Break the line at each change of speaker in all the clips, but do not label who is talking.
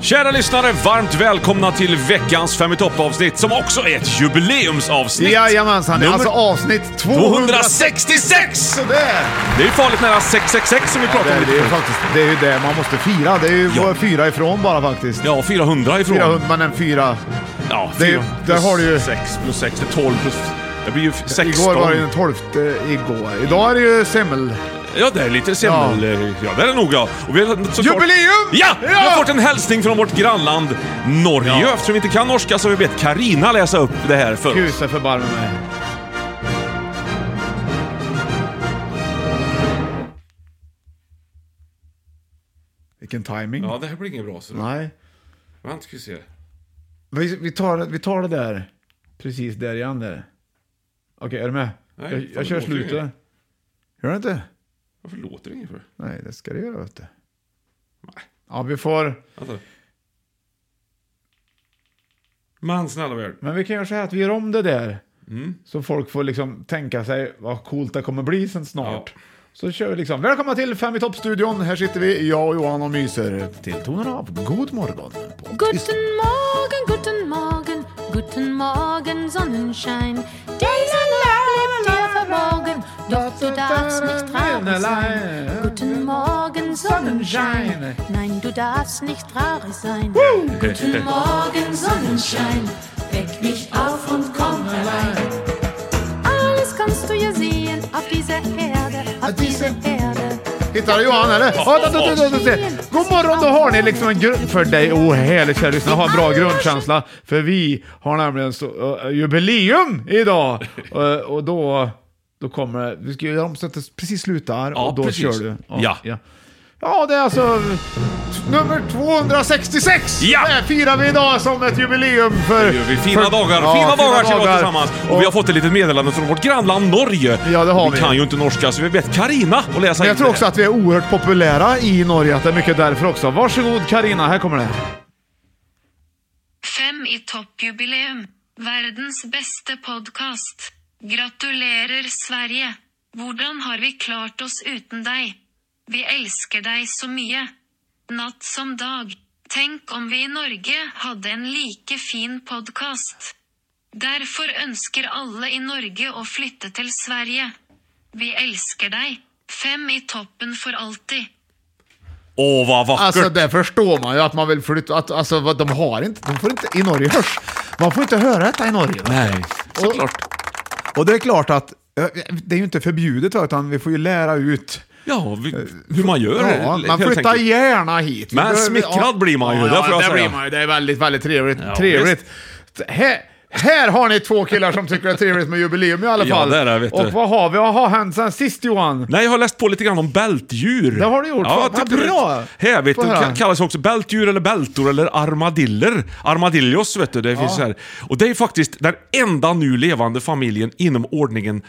Kära lyssnare, varmt välkomna till veckans Fem i topp-avsnitt som också är ett jubileumsavsnitt.
Jajamensan, det är
Nummer
alltså avsnitt 206!
266!
Sådär!
Det är ju farligt nära 666 som vi
Det
pratar om
är, det,
lite
är
nu.
faktiskt, det är ju det man måste fira. Det är ju
Ja.
bara fyra ifrån bara faktiskt.
Ja, 400 ifrån.
Fyra hund, men en fyra.
Ja,
Det är-
fyra
där har du ju-
6 plus 6, det är 12 plus... Det blir ju 16.
Igår var det den tolfte igår. Idag är det ju semmel...
Ja, det är lite semmel... Ja, det är det nog ja. Och vi har såklart...
Jubileum!
Ja! Vi har
Ja!
fått en hälsning från vårt grannland Norge.
Ja.
Eftersom vi inte kan norska så har vi bett Karina läsa upp det här för oss.
Guse förbarme mig. Vilken timing.
Ja, det här blir inget bra. Så.
Nej.
Vänta, ska vi se.
Vi, vi, tar, vi tar det där. Precis där igen där. Okej, är du med?
Nej,
jag
fan,
jag
det
kör
låter ju
slutet.
inget.
Gör du inte?
Varför låter det inget för?
Nej, det ska du göra vet du. Ja, vi får...
Vänta. Man snälla värld.
Men vi kan göra så här att vi gör om det där.
Mm.
Så folk får liksom tänka sig vad coolt det kommer bli sen snart. Så kör vi liksom. Välkomna till Fem i topp-studion. Här sitter vi, jag och Johan och myser till tonen av God morgon. på tisdag.
Guten Morgen, guten Morgen, guten Morgen, Sonnenschein. Dieser Tag bleibt dir verborgen, doch du darfst nicht traurig sein. Guten Morgen, Sonnenschein. Nein, du darfst nicht traurig sein. Guten Morgen, Sonnenschein. Weck mich auf und komm herein. Alles kannst du hier sehen auf dieser Erde, auf dieser Erde.
Hittar du Johan eller? Ja, ta, ta, ta, ta, ta, ta. God morgon, då har ni liksom en grund för dig. Åh, oh, härligt kära lyssnare. Ha en bra grundkänsla. För vi har nämligen så, eh, jubileum idag. Eh, och då, då kommer det. Vi ska göra om så att det precis slutar
Ja,
och då
precis.
kör du.
Ja.
ja. Ja, det är alltså t- nummer 266!
Ja.
Det firar vi idag som ett jubileum
Det
för...
gör vi. Fina
för,
dagar,
Ja,
fina dagar ska vi ha tillsammans. Och vi har
Och-
fått ett litet meddelande från vårt grannland Norge.
Ja, det har
Och vi.
vi.
kan ju inte norska, så vi har bett Karina att läsa
Men
in
jag tror
det
också
här.
att vi är oerhört populära i Norge, att det är mycket därför också. Varsågod Karina, här kommer det.
Fem i toppjubileum. Verdens beste podkast. Gratulerer, Sverige. Hvordan har vi klart oss uten deg? Vi elsker deg så mye. Natt som dag. Tenk om vi i Norge hadde en like fin podkast. Derfor ønsker alle i Norge å flytte til Sverige. Vi elsker deg. Fem i toppen for alltid.
Åh, vad vackert!
Alltså det förstår man ju att man vill flytta, att, alltså vad de har inte, de får inte, i Norge hörs, man får inte höra detta i Norge. va?
Nej, såklart.
Och det är klart att, eh, det är ju inte förbjudet va, utan vi får ju lära ut.
Ja, vi, hur man gör
Ja,
helt
man flyttar
enkelt.
gärna hit. Vi
Men
behöver-
smickrad blir man ju, det får jag
det
säga.
blir man ju, det är väldigt, väldigt trevligt.
Ja,
trevligt. Här, här har ni två killar som tycker det är trevligt med jubileum i alla
Ja,
fall.
det är det, vet du.
Och vad har vi, vad har hänt sen sist Johan?
Nej, jag har läst på lite grann om bältdjur.
Det har du gjort.
Ja, typ
Fan, vad bra.
Hävigt.
Får
De
höra.
ka- kallas också bältdjur eller bältor eller armadiller. Armadillos, vet du. Det finns så här. Och det är faktiskt den enda nu levande familjen inom ordningen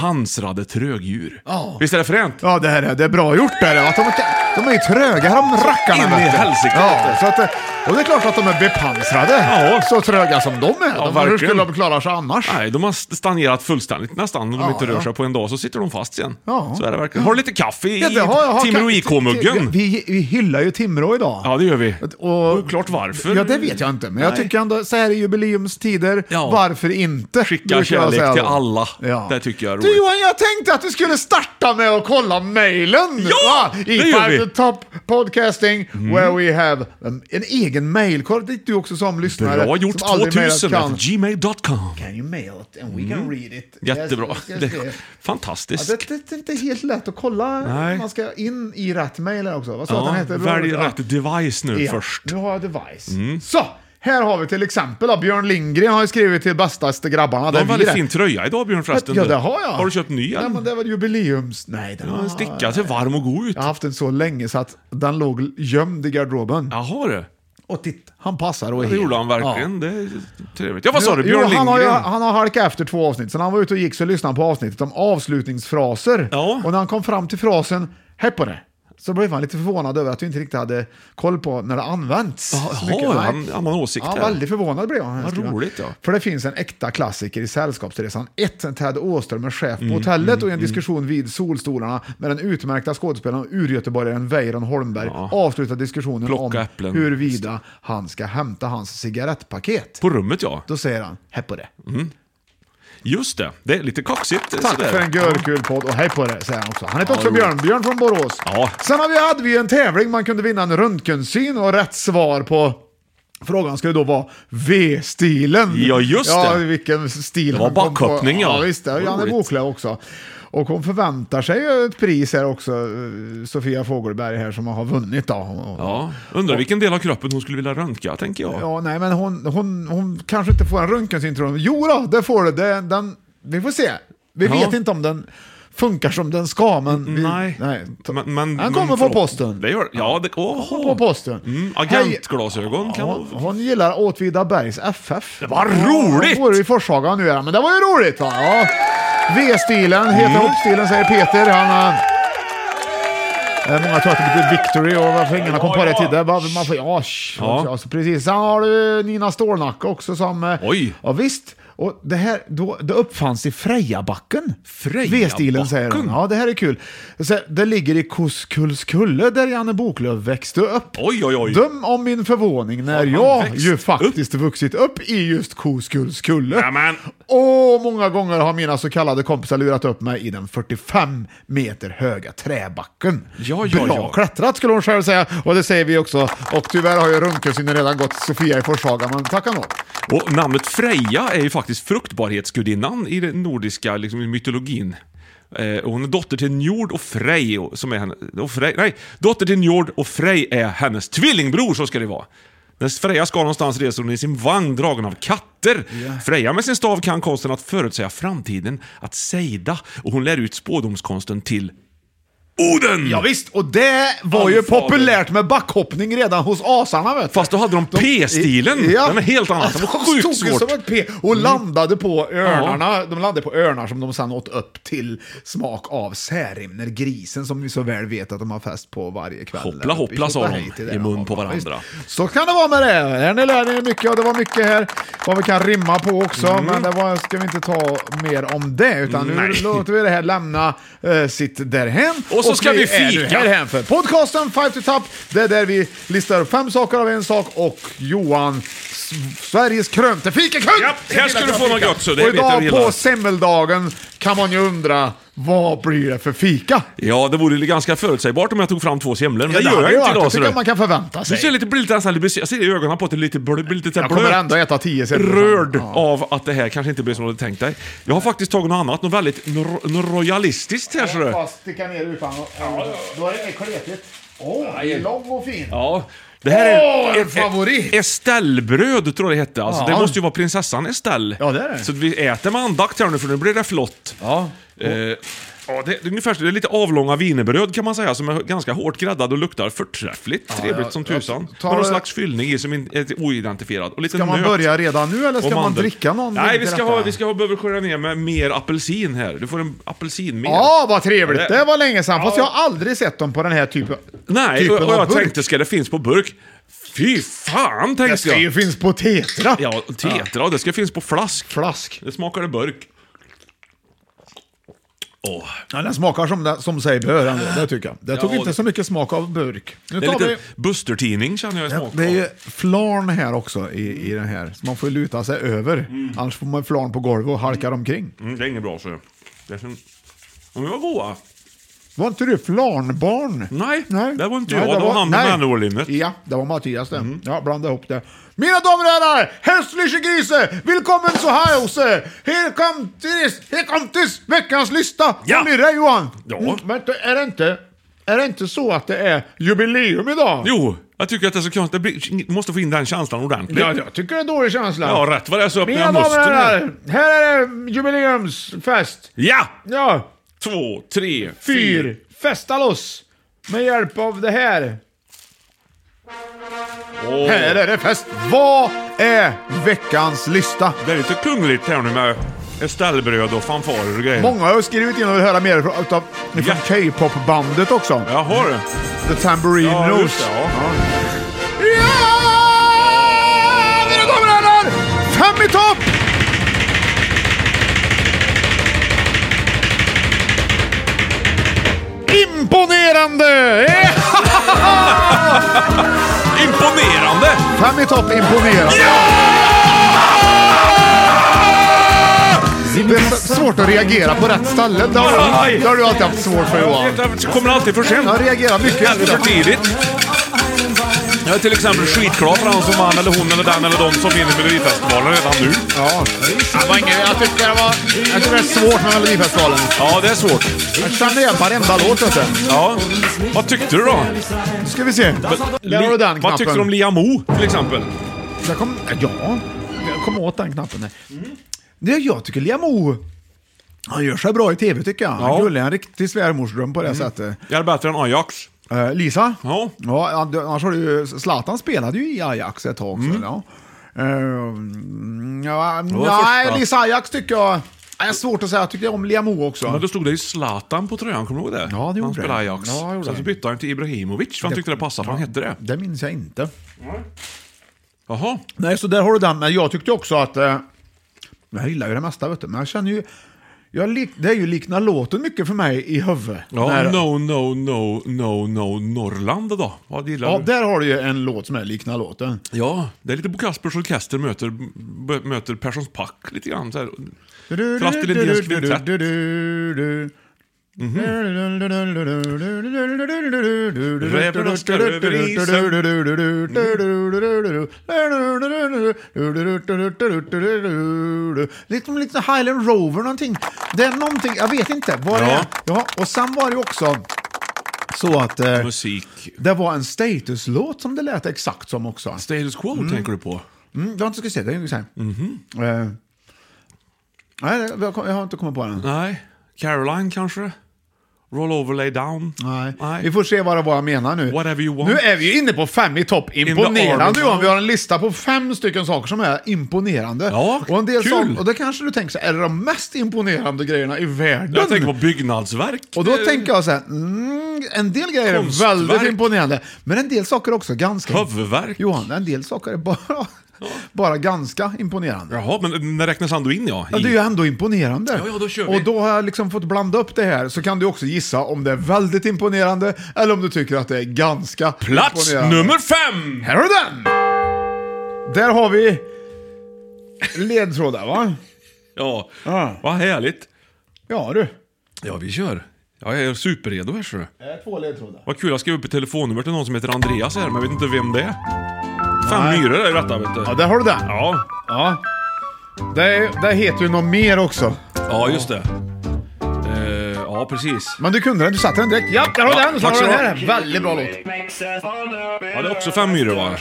pansrade trögdjur.
Ja.
Visst är det fränt?
Ja, det här är, det är bra gjort det här. Att de, de är ju tröga de rackarna.
in i
vet du.
helsike.
Ja, så att, det- och det är klart att de är bepansrade.
Ja.
Så tröga som de är.
Ja,
de, hur
verkligen.
skulle de klara sig annars?
Nej, de har stagnerat fullständigt nästan. Om de inte rör sig på en dag så sitter de fast igen.
Ja.
Så är det verkligen. Har du lite kaffe i
Ja, det har jag- har-
Timrå IK-muggen?
Vi, vi hyllar ju Timrå idag.
Ja, det gör vi.
Och-
Oklart varför.
Ja, det vet jag inte. Men jag
Nej.
tycker ändå, så här i jubileumstider,
Ja.
varför inte?
Skicka
brukar jag
kärlek
säga
till
då.
alla. Det tycker jag är
Du
roligt.
Johan, jag tänkte att du skulle starta med att kolla mejlen.
Ja,
va?
det
I
gör vi. Mm.
Five to Top Podcasting, where we have um, en egen mejlkorg dit du också som lyssnare.
Bra gjort
som aldrig mejlat
2000
kan.
at gmail.com.
Can you mail it and we can read it.
Mm. Jättebra.
Yes, yes,
Det
yes, yes. Ja,
fantastiskt.
det, det, det är inte helt lätt att kolla.
Nej.
Man ska in i rätt mejl här också. Vad sa du att den
Ja,
heter?
välj
Robert? Ja.
rätt device nu
Ja,
först. Mm.
Nu har jag device. Så! Här har vi till exempel då, Björn Lindgren har ju skrivit till bastaste grabbarna.
Du har
där
en
vi
väldigt
är.
fin tröja idag Björn förresten.
Ja,
du.
det har jag.
Har du köpt ny
Nej,
än?
men det var jubileums... Nej, den
Ja,
har...
den stickar, ser varm och god ut.
Jag har haft den så länge så att den låg gömd i garderoben.
Jaha du.
Och titta, han passar och är
Det
hel.
gjorde han verkligen. Det är trevligt. Ja, vad sa du?
Jo,
Björn
han har, ju,
Lindgren?
han har halkat efter två avsnitt. Sen han var ute och gick så lyssnade han på avsnittet om avslutningsfraser.
Ja.
Och när han kom fram till frasen ”Hej på det” så blev han lite förvånad över att vi inte riktigt hade koll på när det används. så mycket.
Jaha,
Nej.
han, han har en åsikt
Ja,
här.
väldigt förvånad blev han.
Vad
Skriver han.
roligt, ja.
För det finns en äkta klassiker i Sällskapsresan 1. En Ted Åström är chef
Mm,
på hotellet och i en diskussion vid solstolarna med den utmärkta skådespelaren och urgöteborgaren Weiron Holmberg avslutar diskussionen
Plocka
om
äpplen.
huruvida han ska hämta hans cigarettpaket.
På rummet ja.
Då säger han, hej på det.
Just det. Det är lite kaxigt.
Tack
sådär.
för en görkul podd och hej på det, säger han också. Han heter
Ja,
också
jo.
Björn, Björn från Borås.
Ja.
Sen har vi, hade vi en tävling, man kunde vinna en röntgensyn och rätt svar på Frågan skulle då vara V-stilen.
Ja, just
Ja,
det.
vilken stil
Det var
han kom på.
backhoppning, ja.
Ja, visst. Det. Janne
Roligt.
Boklöv också. Och hon förväntar sig ju ett pris här också, eh, Sofia Fogelberg här som har vunnit då.
Ja. Undrar vilken del av kroppen hon skulle vilja röntga, tänker jag.
Ja, nej, men hon, hon, hon kanske inte får en röntgensyn tror hon. Jo då, det får du. Det, den, vi får se. Vi
Ja. Mm,
vet inte om den funkar som den ska, men... Vi,
Nej.
ta-
Men, men,
den kommer
men
på
förhopp-
posten.
Det gör Ja, det... Åh.
På posten.
Mm,
Hej.
agentglasögon kan
Hon,
vara...
hon gillar Åtvidabergs FF. Det
var roligt!
Hon bor i Forshaga nu, är hon, men det var ju roligt va? Ja. V-stilen, heta
Mm.
hopp-stilen säger Peter. Han har... Eh, Många tror att det betyder victory och varför ingen har kommit på det tidigare. Va, Man får, ja, sh,
Ja.
alltså, precis. Sen har du Nina Stålnacka också som... eh,
Oj.
Ja, visst. Och det här då, det uppfanns i Frejabacken.
Frejabacken?
V-stilen säger hon. Ja, det här är kul. Så, det ligger i Koskullskulle där Janne Boklöv växte upp.
Oj, oj, oj.
Döm om min förvåning när
Har han
jag
växt
ju
upp?
faktiskt vuxit upp i just Koskullskulle.
Nämen.
Och många gånger har mina så kallade kompisar lurat upp mig i den 45 meter höga träbacken.
Ja, ja,
Bra
ja.
klättrat skulle hon själv säga, och det säger vi också. Och tyvärr har ju röntgensynen redan gått till Sofia i Forshaga, men tack ändå.
Och namnet Freja är ju faktiskt fruktbarhetsgudinnan i den nordiska liksom, i mytologin. Eh, och hon är dotter till Njord och Frej, och- som är henne, och Frej, nej, dotter till Njord och Frej är hennes tvillingbror, så ska det vara. När Freja ska någonstans reser hon i sin vagn dragen av katter. Freja med sin stav kan konsten att förutsäga framtiden, att sejda, och hon lär ut spådomskonsten till Oden!
Ja, visst, och det var ju
Allfader.
populärt med backhoppning redan hos asarna vet du.
Fast då hade de P-stilen. Den är helt annan. Den var sjukt
De stod ju
svårt. Mm.
som ett P och landade på örnarna. De landade på örnar som de sedan åt upp till smak av särrimner, grisen som vi så väl vet att de har fest på varje kväll.
Hoppla,
Där uppe i
hoppla, sa de,
Tjotahejti där.
i mun på
Ja, visst.
varandra.
Så kan det vara med det. Här Ni lär er mycket och det var mycket här vad vi kan rimma på också. Men det var, ska vi inte ta mer om det, utan nu
Mm. Nej.
låter vi det här lämna eh, sitt därhän.
Och så ska vi
är nu
fika.
härhän för podcasten Five to Top. Det är där vi listar upp fem saker av en sak och Johan, S- Sveriges krönte fikakung!
Japp, här ska du få något gott, så det
Och
vet jag du
idag
gillar.
på semmeldagen kan man ju undra, vad blir det för fika?
Ja, det vore ju ganska förutsägbart om jag tog fram två semlor. Men
Jag
det har
gör
jag
ju
inte
allt, jag
idag. ser
tycker att man
Du
kan förvänta
Du ser
sig.
lite, blir lite, nästan lite besviken. Jag ser i ögonen på att du lite, blö- blir lite så här
Jag kommer
blöt.
ändå äta tio semlor.
Rörd
Ja.
av att det här kanske inte blir som du hade tänkt dig. Jag har faktiskt tagit något annat, något väldigt nor- nor- royalistiskt här ser du.
Bara sticka ner utan Då är det kletigt. Åh,
Aj.
lång och fin.
Ja. Det här är
Åh, en favorit!
Estellebröd tror jag det hette. Alltså,
Ja.
Det måste ju vara prinsessan Estelle.
Ja, det är det.
Så vi äter med andakt här nu för nu blir det flott.
Ja.
Eh, Ja, det, det är ungefär, det är lite avlånga wienerbröd kan man säga, som är ganska hårt gräddade och luktar förträffligt. trevligt
ja,
som
ja.
tusan.
Ta-
Med någon slags fyllning i som in- är oidentifierad. Och lite
Ska man
nöt
börja redan nu eller
och
ska man
mandel.
dricka någon?
Nej, vi
till
ska
detta?
ha, vi ska ha, behöver skära ner med mer apelsin här. Du får en apelsin mer.
Ja, vad trevligt.
Det-
Det var länge sedan. Fast jag har aldrig sett dem på den här typen,
Nej, och,
typen
och
av
jag
typ burk.
tänkte, ska det finnas på burk? Fy fan,
Det
tänkte
ska ju
jag.
finnas på Tetra.
Ja, och tetra, det ska finnas på flask.
Flask.
Det smakar det burk. Åh.
Ja, den smakar som, den- som sig bör ändå, det tycker jag. Det tog
Ja, och-
inte så mycket smak av burk. Nu
Det är
tar
lite
vi...
Buster-tidning känner jag i smak.
Det är ju flarn här också i, i den här. Så man får ju luta sig över. Annars får man flarn på golvet och halkar omkring.
Mm, det är inget bra, så. Det är som... De var goda.
Var inte du flarnbarn?
Nej, det var inte jag. Det var han med Mm.
nej.
manneårlimmet.
Ja, det var Mattias det. Ja, blanda ihop det. Mina damer och herrar! Hästliche Grise! Välkommen zu Hause! Här kom tis, här kom tis, veckans lista!
Ja.
Håll i dig Johan!
Ja.
vänta, är det inte... Är det inte så att det är jubileum idag?
Jo, jag tycker att det är så konstigt. Det blir, måste få in den känslan ordentligt.
Ja, jag tycker det är en dålig känsla.
Ja, rätt vad det är så öppnar
Mina
jag
damer och
musten. här.
herrar! Här är det jubileumsfest!
Ja!
Ja,
Två, tre, fyra.
fyr! Festa loss! Med hjälp av det här.
Åh,
Här är det fest! Vad är veckans lista?
Det är lite kungligt här nu med Estellebröd och fanfarer och grejer.
Många har ju skrivit in och vill höra mer från, utav, från
Ja.
K-pop-bandet också.
Jaha du.
The Tambourine
Ja, just
Rose.
det. Ja.
Ja! Mina damer och herrar! Fem i topp! Imponerande! Ja!
Imponerande!
Fem i topp, imponerande. Det är s- svårt att reagera på rätt ställe. Det har, du- det har du alltid haft svårt för Johan.
Det kommer alltid för sent.
Jag reagerar mycket.
Eller för tidigt. Jag är till exempel skitglad för han som vann, eller hon, eller den, eller de som vinner Melodifestivalen redan nu.
Ja. Det var inget- Jag tycker det var... Jag tycker det är svårt med Melodifestivalen.
Ja, det är svårt.
Jag känner igen varenda låt vet du.
Ja. Vad tyckte du då?
Nu ska vi se. Där har du den
Vad tyckte du om
knappen.
Liam O, till exempel?
Jag kom, ja, jag kom åt den knappen. där.
Mm.
Det, jag tycker Liam O... Han gör sig bra i tv tycker jag. Han
Ja.
gullig, en riktig svärmorsdröm på det sättet.
Jag är bättre än Ajax.
Eh, Lisa?
Ja.
ja an- annars har du ju, Zlatan spelade ju i Ajax ett tag. Så, ja. Eh, mm, ja,
var
nej,
första.
Lisa Ajax tycker jag... Det är svårt att säga. Jag tycker om Liam O också.
Men då stod det ju Zlatan på tröjan, kommer du ihåg det?
Ja, det gjorde
Han spelade
det.
Ajax.
Ja, det gjorde
Sen så
det.
bytte han till Ibrahimovic, för han tyckte det passade, för han hette det.
Det minns jag inte.
Jaha.
Nej, så där har du den. Men jag tyckte också att... Eh, jag gillar ju det mesta, vet du. Men jag känner ju... Jag lik, det är ju liknar låten mycket för mig i huvudet.
Ja,
När-
no, no, no, no, no, Norrland då? Vad gillar
ja,
du?
där har du ju en låt som är liknar låten.
Ja, det är lite Bo Kaspers Orkester möter, b- möter Perssons Pack lite grann. Så här. Fast till Lindéns kvintett. Räven och skar över
Liksom lite Highland Rover någonting. Det är någonting, jag vet inte vad det
Ja.
är. Ja, och sen var det ju också så att eh,
Musik.
det var en statuslåt som det lät exakt som också.
Status Quo tänker du på?
Mm, jag har inte ska se, det är ju så här. Eh, nej, det- jag kom- jag har inte kommit på den.
Nej. Caroline kanske? Roll over, lay down?
Nej.
Nej.
Vi får se vad det var jag menar nu.
Whatever you want.
Nu är vi ju inne på fem i topp.
army.
Imponerande Johan. Vi har en lista på fem stycken saker som är imponerande.
Ja,
och en del
kul.
saker, och det kanske du tänker så här, är det de mest imponerande grejerna i världen?
Jag tänker på byggnadsverk.
och då
Eh,
tänker jag så här, mm, en del grejer
Konstverk.
är väldigt imponerande, men en del saker är också ganska...
Huvudvärk.
Johan, en del saker är bara, bara ganska imponerande.
Jaha, men när räknas han då in ja?
Ja, det är ju ändå imponerande.
Ja, ja, då kör vi.
och då har jag liksom fått blanda upp det här, så kan du också gissa om det är väldigt imponerande eller om du tycker att det är ganska
Plats
imponerande.
nummer fem!
Här har du den! Där har vi ledtrådar va?
Ja,
Ja.
vad härligt.
Ja du.
Ja, vi kör. Jag är superredo här ser du.
Det är två ledtrådar.
Vad kul, jag skrev upp ett telefonnummer till någon som heter Andreas här, men jag vet inte vem det är. Fem
Nej.
myror är ju detta vet du.
Ja, där har du den.
Ja,
Ja. Det, är, det heter ju något mer också.
ja just det. Eh, ja, precis.
Men du kunde den, du satte den direkt. Ja, där har du
Ja,
den! Så
tack
har du
så
den
bra.
här. Väldigt bra låt.
Ja, det är också fem myror va?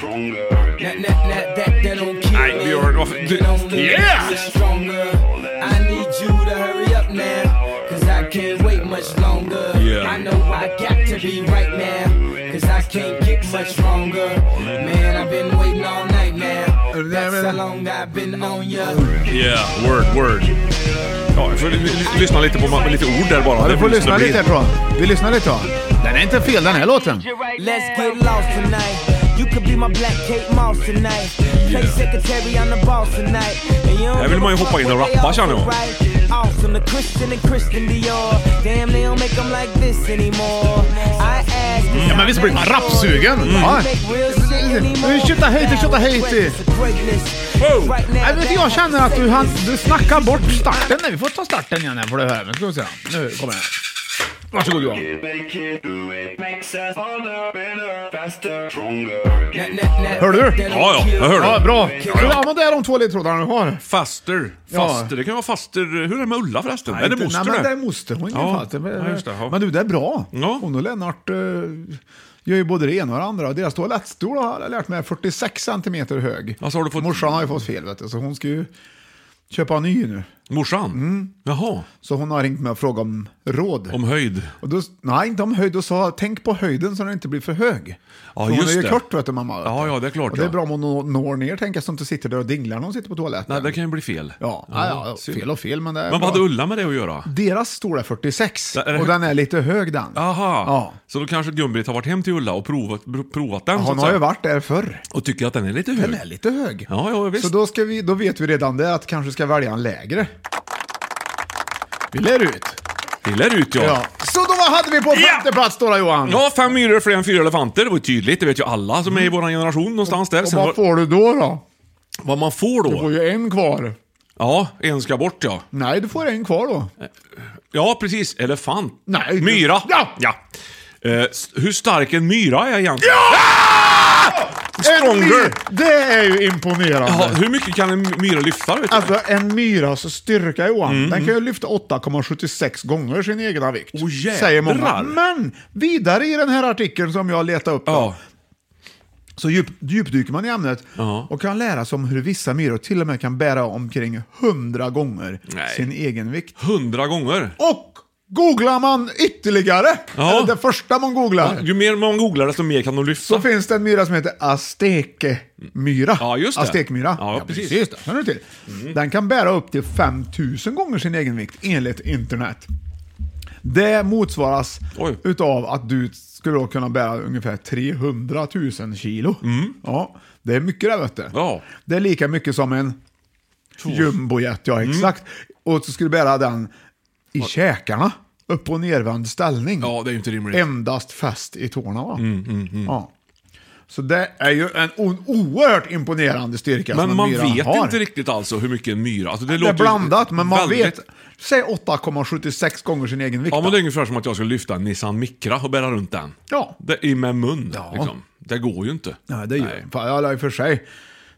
Nej,
vi gör- varför- du- Yeah!
I need you to hurry up now. Cause I can't wait much longer.
Yeah.
I know I got to be right now. Cause I can't get much stronger. Man, I've been waiting all night now. That's how long I've been on ya.
Yeah, word, word. Ja, jag får l- l- lyssna lite på ma- lite ord där bara.
Ja,
Det
du får
blir-
lyssna
det
lite
blir-
härifrån. Vi lyssnar lite då. Den är inte fel den här låten.
Let's get lost tonight. You could be my black Kate Moss tonight. Play secretary on the boss tonight. And you don't
Här vill man ju hoppa in och rappa, känner jag.
Right. Awesome, the Christian and Christian Dior. Damn, they don't make 'em like this anymore. I ask is
Mm,
Ja, men visst blir man rappsugen? Ja.
Ah.
Nu tjottar Haiti, tjottar Haiti.
Wow.
Nej, men jag känner att du, han, du snackar bort starten. Nej, vi får ta starten igen här på det här. Men ska vi se. Nu kommer den. Varsågod Johan. Hör du?
Ja, ja, jag hör det.
Ja, bra. Ja, men det är de två ledtrådarna du har.
Faster. Faster. Det kan ju vara faster. Hur är det med Ulla förresten? är det moster
Nej, men det är
det?
moster. Hon är
Ja.
fattig. Men-
Ja, just det, ja.
Men du, det är bra.
Ja.
Hon och Lennart eh, gör ju både det ena och det andra. Deras toalettstol har jag lärt mig är 46 centimeter hög.
Alltså, har du fått-
Morsan har ju fått fel, vet du. Så hon ska ju köpa en ny nu.
Morsan?
Mm.
Jaha.
Så hon har ringt mig och frågat om råd.
Om höjd.
Och då, nej, inte om höjd. Då sa jag, tänk på höjden så den inte blir för hög.
Ja,
För hon
just
är ju
det.
kort, vet du, mamma. Vet du.
Ja, ja, det är klart,
Och det är
ja.
bra om hon når- når ner, tänker jag, så hon inte sitter där och dinglar när hon sitter på toaletten.
Nej, det kan ju bli fel.
Ja, ja, ja,
synd.
fel och fel, men det är
Men
bra.
vad hade Ulla med det att göra?
Deras stol är 46
Där är det-
och den är lite hög den.
Aha.
Ja.
Så då kanske Gun-Britt har varit hem till Ulla och provat, pr- provat den så
Hon
att
har ju
säga.
varit där förr.
Och tycker att den är lite hög.
Den är lite hög.
Ja, ja, visst.
Så då, ska vi, då vet vi redan det att kanske ska välja en lägre. Vi lär ut.
Det lär ut ja.
Ja.
ja.
Så då hade vi på
Ja.
femte plats då, då Johan.
fem myror fler än fyra elefanter. Det var ju tydligt. Det vet ju alla som är i vår generation någonstans där.
Mm. Och
Sen
vad
vad,
får du då då?
vad man får
Du får
då?
ju en kvar.
Ja, en ska bort ja.
Nej, du får en kvar då.
Ja, precis. Elefant.
Nej, du-
myra.
Ja.
ja. Eh, s- hur stark en myra är egentligen? Ja!
En
Stronger!
myr, det är ju imponerande.
Ja, hur mycket kan en myra lyfta? Vet du?
Alltså en myras styrka Johan, den kan ju lyfta 8,76 gånger sin egna vikt.
Mm. Åh, jädrar.
säger många. Men vidare i den här artikeln som jag letade upp då,
ja.
så djup, djupdyker man i ämnet
Ja.
och kan lära sig om hur vissa myror till och med kan bära omkring 100 gånger
Nej.
sin egen vikt.
Hundra gånger.
Och googlar man ytterligare,
Ja.
eller det första man googlar,
Ju mer man googlar desto mer kan de lyfta.
så finns det en myra som heter aztekemyra.
Alltså. Ja, just det.
Aztekmyra.
Ja, precis. Mm.
det känner du till. Den kan bära upp till 5000 gånger sin egen vikt enligt internet. Det motsvaras
Oj.
utav att du skulle då kunna bära ungefär 300 000 kilo. Ja, det är mycket det vet du.
Mm. Ja.
Det är lika mycket som en jumbojet, ja
Mm.
exakt. Och så skulle du bära den i käkarna, upp och nervänd ställning
Ja, det är ju inte rimligt.
endast fäst i tårna. Va?
Mm,
Ja. Så det är ju en o- oerhört imponerande styrka som
Men
en
man
myra
vet
har.
inte riktigt alltså hur mycket en myra... Alltså det,
Det är
låter ju
blandat, men man
väldigt-
vet. Säg 8,76 gånger sin egen vikt.
Ja, men det
då.
är ungefär som att jag skulle lyfta en Nissan Micra och bära runt den.
Ja.
Det är med mun,
Ja.
liksom. Det Mm. går ju inte.
Nej, det är ju... Fan, ja, i och för sig.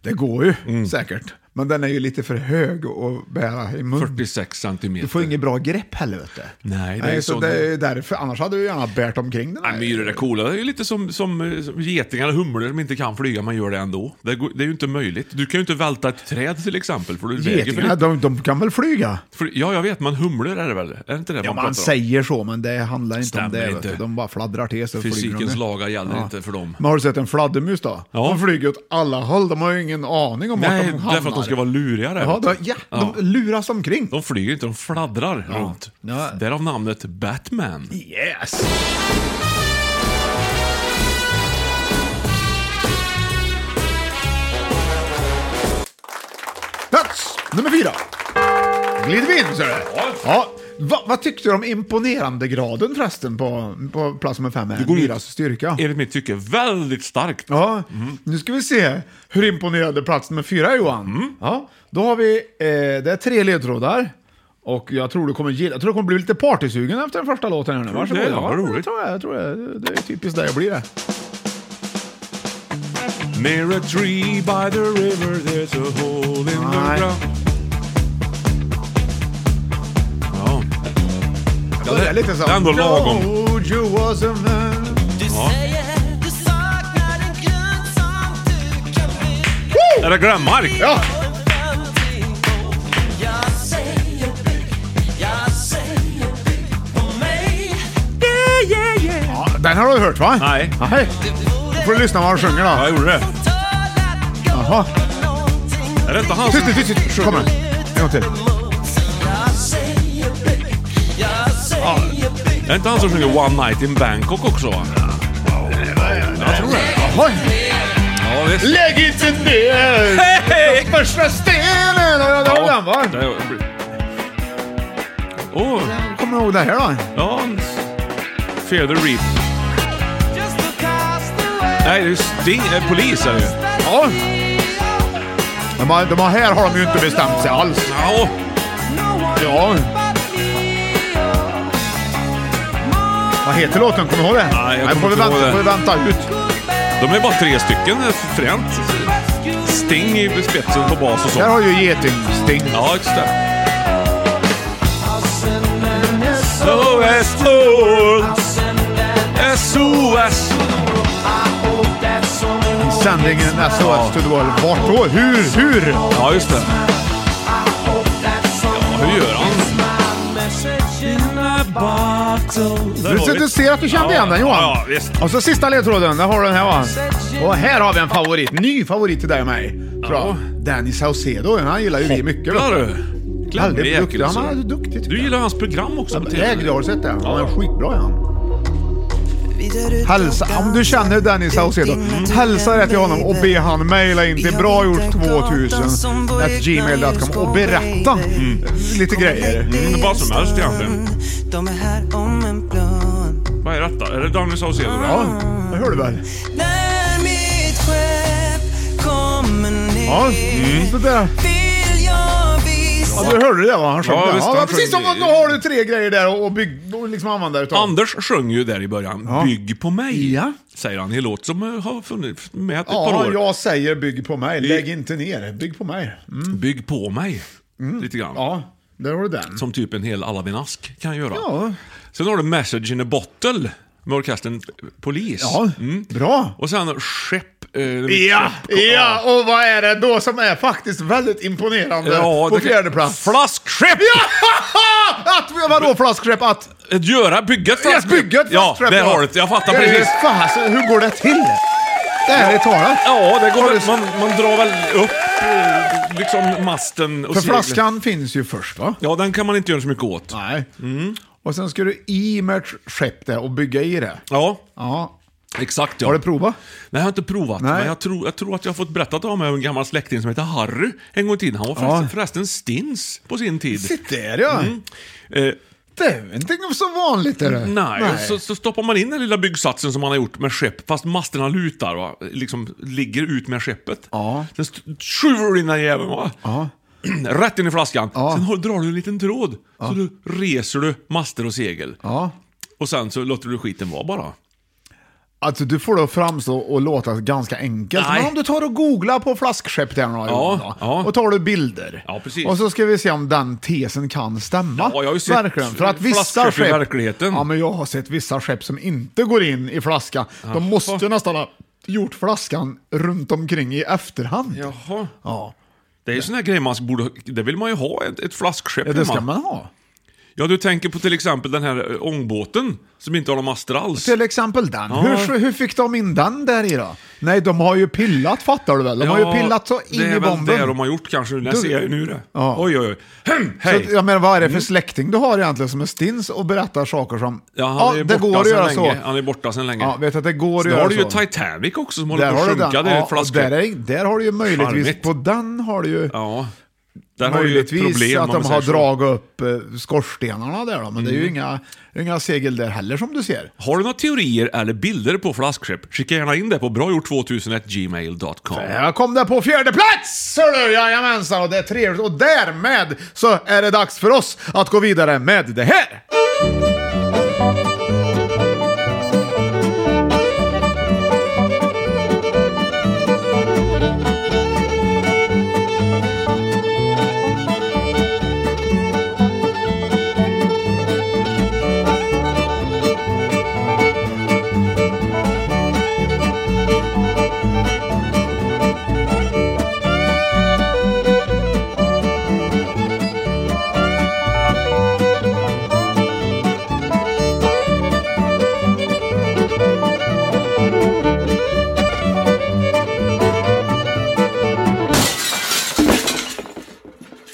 Det går ju säkert. Men den är ju lite för hög att bära i mun.
46 centimeter.
Du får inget bra grepp heller vet du.
Nej, det är
så
så-
det är därför. Annars hade du gärna bärt omkring den
Nej, myror är coola. Det är ju lite som, som, eh, som getingar och humlor som inte kan flyga, man gör det ändå. Det, går- det är ju inte möjligt. Du kan ju inte välta ett träd till exempel, för du väger för
Getingar,
lite.
de, de kan väl flyga?
För, ja, jag vet, men humlor är det väl? Är det inte det
Ja,
man pratar
man
om?
säger så, men det handlar inte om
Stämmer
det. Vet
inte.
du. De bara fladdrar till sig. och flyger
Fysikens
de.
lagar gäller inte för dem.
Men har du sett en fladdermus då?
Ja.
De flyger åt alla håll. De har ju ingen aning om
Nej,
vart de hamnar.
därför att de ska vara lurigare.
Ja,
vet du.
de, ja, de luras omkring.
De flyger inte, de fladdrar runt.
Ja.
Därav namnet Batman.
Yes! Plats nummer fyra. Glider vi in, ser du.
Ja.
ja. Va, vad tyckte du om imponerandegraden förresten på, på plats nummer fem? Här?
går ut-
Myras styrka.
Enligt mitt tycke väldigt starkt.
Ja, nu ska vi se hur imponerande plats nummer fyra är Johan.
Mm.
Ja, då har vi, eh, det är tre ledtrådar. Och jag tror du kommer gilla, jag tror du kommer bli lite partysugen efter den första låten här nu.
Tror du det?
Varsågod.
Ja, vad
jag
roligt.
tror jag, jag tror jag. Det är typiskt där jag blir det.
Near a tree by the river there's a hole in the
Nej.
ground Ja. Ja,
Det är lite så.
det är ändå lagom.
Told you was a man.
Är det Glenmark?
Ja! Den har du hört va?
Nej.
Nej. får du lyssna vad han sjunger
Ja,
då.
jag gjorde det.
Jaha.
Är det inte han som...
Tyst, tyst, tyst, tyst. Kommer den. En gång till.
Ja. Är det inte han som sjunger One Night in Bangkok också? va? Jag tror det.
Oj.
Ja, visst.
Lägg inte ner
Hej!
första stenen. Ja, där var den va?
Där var- Åh,
Kommer du ihåg det här då?
ja. Fear the Reap. Nej, det är ju Sting... Eh, polis är det ju.
Ja. De har, de har, här har de ju inte bestämt sig alls.
Ja.
Ja. Vad heter låten? Kommer du ihåg det?
Nej, jag kommer
får vi
inte
vänta,
ihåg det.
Får vi vänta ut.
De är bara tre stycken, eh, fränt. Sting i spetsen på bas och
Där
så.
har ju getingsting.
Ja, just det. SOS Lord, SOS.
Sändningen SOS to the world. Vart då? Hur? Hur?
Ja, just det. Ja, hur gör han?
Du, ser- du ser att du kände
Ja,
igen den Johan.
ja, visst.
Och så sista ledtråden, där har du den här va. Och här har vi en favorit. Ny favorit till dig och mig. Tror jag. Danny Saucedo, han gillar ju vi mycket.
Gillar
vet
du?
du. Väldigt duktig.
Klämmer
Han är
jäkel, så.
duktig tycker
Du
jag.
gillar hans program också på
Ägd, jag
TV?
har sett det. Han är skitbra är han. Hälsa, om du känner Danny Saucedo, hälsa det till honom och be han mejla in till bragjort2000 gmail.com och berätta lite grejer.
Mm, vad som helst egentligen.
De är här om en blund
Vad är detta? Är det Danny Saucedo?
Ja, det hör du väl?
När mitt skepp kommer ner
Ja,
Mm.
så där.
vill jag visa
Ja, du hörde det va? Han sjöng
Ja,
det.
visst,
ja,
han
men precis.
sjöng
Som,
det.
då har du tre grejer där och, bygg, och liksom använda utav.
Anders sjöng ju där i början.
Ja.
Bygg på mig.
Ja.
Säger han i en låt som eh, har funnits med ett par
ja,
år.
jag säger bygg på mig. Lägg inte ner. Bygg på mig. Mm.
Bygg på mig. Lite grann.
Ja, där har du den.
Som typ en hel Aladdin-ask kan göra.
Ja.
Sen har du Message in a Bottle med orkestern Polis.
Ja, bra.
Mm. Och sen Skepp... eh,
Ja,
skepp-
ja, och vad är det då som är faktiskt väldigt imponerande
Ja,
på
det-
fjärde plats?
Flaskskepp!
att, vadå flaskskepp? Att
Att göra, bygga ett
yes,
flaskskepp.
bygget
Ja,
flaskskepp,
där har du det. Jag fattar precis.
Ja, Fan, alltså, hur går det till? Det här är talat.
Ja, det går
Har
väl,
du-
man, man drar väl upp eh, liksom masten och
För
seglen.
flaskan finns ju först va?
Ja, den kan man inte göra så mycket åt.
Nej.
Mm.
Och sen ska du i med ett skepp där och bygga i det.
Ja,
Ja.
exakt ja.
Har du provat?
Nej, jag har inte provat.
Nej.
Men jag tror, jag tror att jag har fått berättat om en gammal släkting som heter Harry en gång i tiden. Han var förresten,
Ja.
förresten stins på sin tid.
Sitt där ja.
Eh,
Det är väl inte så vanligt är det.
nej, Så, så stoppar man in den lilla byggsatsen som man har gjort med skepp, fast masterna lutar va? Liksom ligger ut med skeppet.
Ja.
Sen st- skjuter du in den jäveln va?
Ja.
Rätt in i flaskan.
Ja.
Sen har, drar du en liten tråd. Så du reser du master och segel.
Ja.
Och sen så låter du skiten vara bara.
Alltså du får det att framstå och låta ganska enkelt.
Nej.
Men om du tar och googlar på flaskskepp där några gånger då,
ja.
och tar du bilder.
Ja, precis.
Och så ska vi se om den tesen kan stämma.
Ja, jag har ju sett
Verkligen. För att vissa
flaskskepp i
skepp...
verkligheten.
Ja, men jag har sett vissa skepp som inte går in i flaska. De måste nästan ha gjort flaskan runt omkring i efterhand. Ja,
Jaha. Det är ju sån här grej man borde... Det vill man ju ha, ett, ett flaskskepp
det ska
hemma.
man ha.
Ja, du tänker på till exempel den här eh, ångbåten som inte har några master alls.
Till exempel den. Hur, hur fick de in den där i då? Nej, de har ju pillat fattar du väl? De har ju pillat så in
det är
i bomben.
väl det de har gjort kanske. Jag
Du-
ser jag ju nu det.
Ja.
Oj, oj, oj. Hem,
Så,
hej! Mm.
att, jag menar, vad är det för släkting du har egentligen som är stins och berättar saker som...
Ja, han är
ja
ju
det
borta
går att
sedan
göra
länge.
så.
Han är borta sedan länge.
Ja, vet att det går att
Sen
göra
har du ju
så.
Titanic också som
Där
håller på
har,
att
du
sjunka.
den.
Det är
Ja,
ett
och där,
flaskor.
är, där har du ju möjligtvis,
Charmigt.
på den har du ju
Ja. Där har du ju ett
möjligtvis
problem
att
om man
de
säger
har
så. Mm.
dragit upp eh, skorstenarna där då. Men det är ju inga, inga segel där heller som du ser.
Har du några teorier eller bilder på flaskskepp? Skicka gärna in det på bragjort2000gmail.com.
Jag kom där på fjärde plats! Hörru, jajamensan, och det är trevligt. Och därmed så är det dags för oss att gå vidare med det här.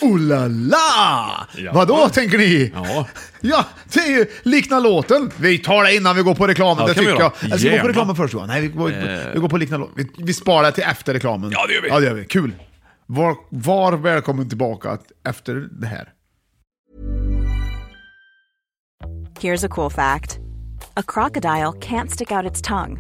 la la!
Ja.
Vadå tänker ni?
Ja.
Ja, det är ju likna låten. Vi tar det innan vi går på reklamen,
Ja,
det
kan vi
tycker jag.
göra.
Eller ska vi gå på
Gärna.
reklamen först Johan? Nej, vi går, vi går på likna låten. Vi, vi sparar till efter reklamen.
Ja, det gör vi.
Ja, det gör vi. Kul. Var, var välkommen tillbaka efter det här.
Here's a cool fact a crocodile can't stick out its tongue.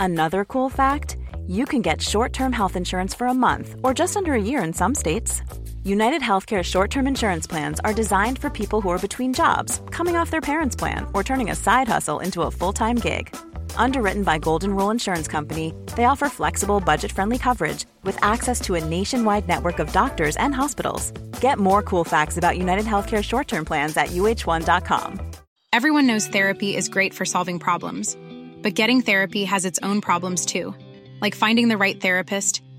Another cool fact you can get short term health insurance for a month or just under a year in some states. United Healthcare short term insurance plans are designed for people who are between jobs, coming off their parents' plan, or turning a side hustle into a full time gig. Underwritten by Golden Rule Insurance Company, they offer flexible, budget friendly coverage with access to a nationwide network of doctors and hospitals. Get more cool facts about United Healthcare short term plans at uh1.com.
Everyone knows therapy is great for solving problems, but getting therapy has its own problems too, like finding the right therapist,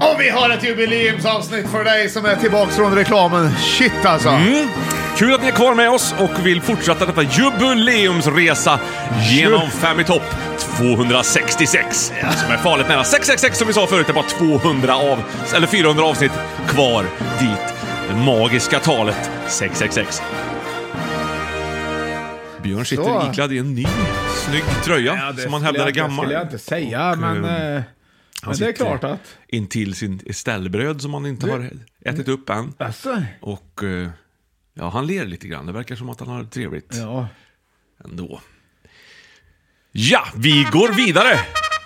Och vi har ett jubileumsavsnitt för dig som är tillbaka från reklamen. Shit alltså.
Mm. Kul att ni är kvar med oss och vill fortsätta detta jubileumsresa genom Fem i topp 266. Som är farligt nära 666 som vi sa förut. Det är bara 200 av, eller 400 avsnitt kvar dit. Det magiska talet 666. Björn sitter
Så.
iklädd i en ny snygg tröja som han hävdar är gammal.
skulle jag inte säga,
Och,
men,
ehm,
eh, men det är
sitter-
klart att...
Intill sin ställbröd som han inte har ätit upp än.
Alltså,
Och eh, ja, han ler lite grann. Det verkar som att han har det trevligt
ja.
ändå. Ja, vi går vidare!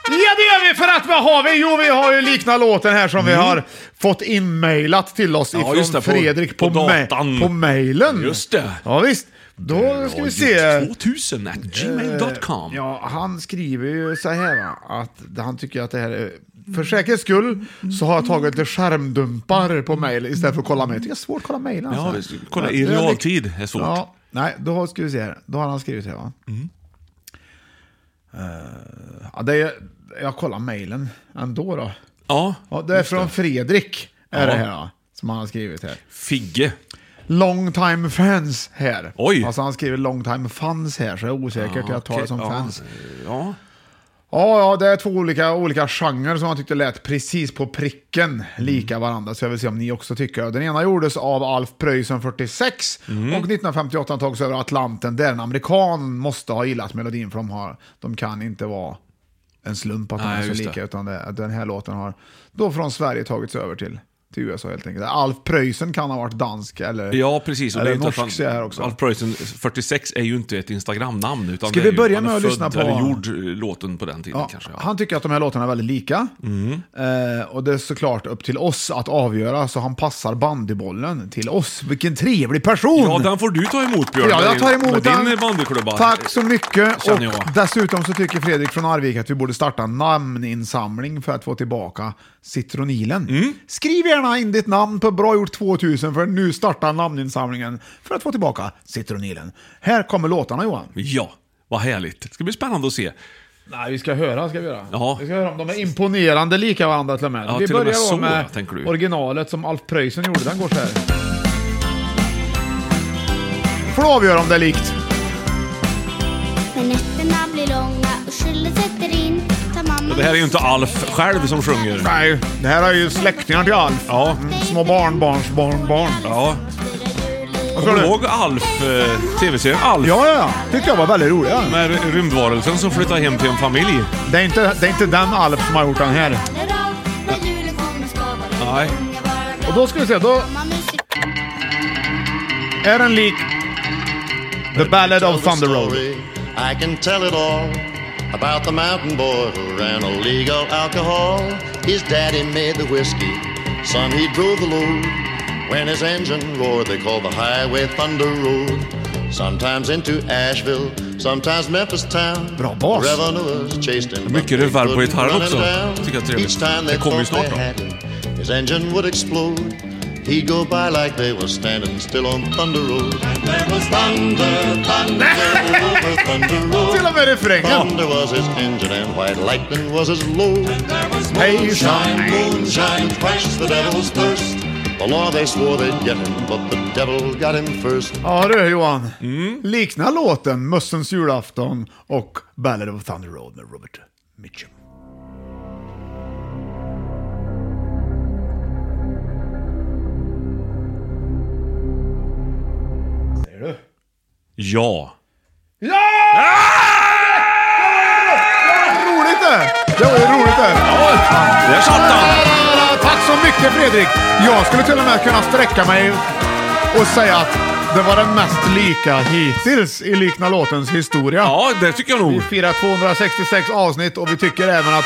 Ja det gör vi för att vad har vi? Jo vi har ju likna låten här som vi har fått inmailat till oss ifrån
Mm. just det, på-
Fredrik på,
på
ma-
datan.
på mailen.
Just det.
Ja visst. Då ska vi se. Eh,
2000 at gmail.com.
Ja, han skriver ju så här va, att han tycker att det här är... För säkerhets skull så har jag tagit lite skärmdumpar på mail istället för att kolla mail. Jag tycker det är svårt att kolla mail alltså.
Ja, visst. Kolla
Men
i
det är-
realtid är svårt. Mm.
Ja, nej, då ska vi se här. Då har han skrivit här va? Eh, ja, det är, jag kollar mailen ändå då.
Ja,
Ja, det är från Fredrik, är
Ja.
det här ja, som han har skrivit här.
Figge.
Long time fans här.
Oj. Ah,
Alltså han skriver long time fans här, så jag är osäker till att ta det som
ja, eh,
fans.
Ja.
Ja, ja, det är två olika, olika genrer som han tyckte lät precis på pricken lika
Mm.
varandra, så jag vill se om ni också tycker. Den ena gjordes av Alf Preussen 46
Mm.
och 1958 togs över Atlanten, där en amerikan måste ha gillat melodin, för de, har, de kan inte vara en slump att de
Nej,
är så
just det.
lika, utan det, att den här låten har då från Sverige tagits över till, till USA helt enkelt. Alf Preussen kan ha varit dansk eller,
ja, precis.
eller
är inte att
norsk
han-
ser jag här också.
Alf Preussen 46 är ju inte ett Instagram-namn. Utan det
Ska
är
vi
ju-
börja
han är
med att
född,
lyssna på-
Eller gjord eh, låten på den tiden
Ja,
kanske. Ja.
Han tycker att de här låtarna är väldigt lika. Eh, och det är såklart upp till oss att avgöra, så han passar bandybollen till oss. Vilken trevlig person!
ja, den får du ta emot Björn.
Ja, jag tar
med
emot
din-
den.
Med din bandyklubba.
Tack så mycket. Och
Känner jag.
dessutom så tycker Fredrik från Arvika att vi borde starta en namninsamling för att få tillbaka citronilen.
Mm.
Skriv gärna in ditt namn på Bra gjort 2000 för nu startar namninsamlingen för att få tillbaka citronilen. Här kommer låtarna Johan.
Ja, vad härligt. Det ska bli spännande att se.
Nej, vi ska höra ska vi göra.
Ja.
Vi ska höra om de är imponerande lika varandra till och med.
Ja,
vi
till och med
börjar då
så,
med
tänker du.
originalet som Alf Preussen gjorde. Den går så här. Får du avgöra om det är likt.
När nätterna blir långa och kylen sätter in tar mamma
Ja, Det här är ju inte Alf själv som sjunger.
Nej, det här är ju släktingar till Alf.
Ja.
Små barn, barns barn, barn.
Ja.
Vad sa
Kommer
du?
du ihåg Alf, eh, tv-serien Alf?
Ja, ja, ja. Tyckte jag var väldigt rolig. ja.
Med rymdvarelsen som flyttar hem till en familj.
Det är, inte, det är inte den Alf som har gjort den här.
Nej.
Och då ska vi se, då... Är den lik Oh, The Ballad of Thunder Road?
I can tell it all about the mountain boy who ran illegal alcohol. His daddy made the whiskey, son he drove the load. When his engine roared, they called the highway Thunder Road. Sometimes into Asheville, sometimes Memphis town.
Bra bas.
Revenuers chased him.
Mycket reverb på gitarren också. Tycker jag är
Each
trevligt.
time they
Det kommer ju
thought they
snart då.
had him, his engine would explode. He'd go by like they were standing still on Thunder Road. There was thunder, thunder, over Thunder Road.
Till och med refrängen.
Thunder was his engine and white lightning was his load.
Hey,
Moonshine, moonshine, quench the devil's thirst. The law they swore they'd get him, but the devil got him first.
Ja du Johan, liknar låten Mössens julafton och Ballad of Thunder Road med Robert Mitchum. Säger du?
Ja.
Ja! Vad roligt det! Det var ju roligt det!
Där satt han!
Tack så mycket Fredrik! Jag skulle till och med kunna sträcka mig och säga att det var den mest lika hittills i Likna låtens historia.
Ja, det tycker jag nog.
Vi firar 266 avsnitt och vi tycker även att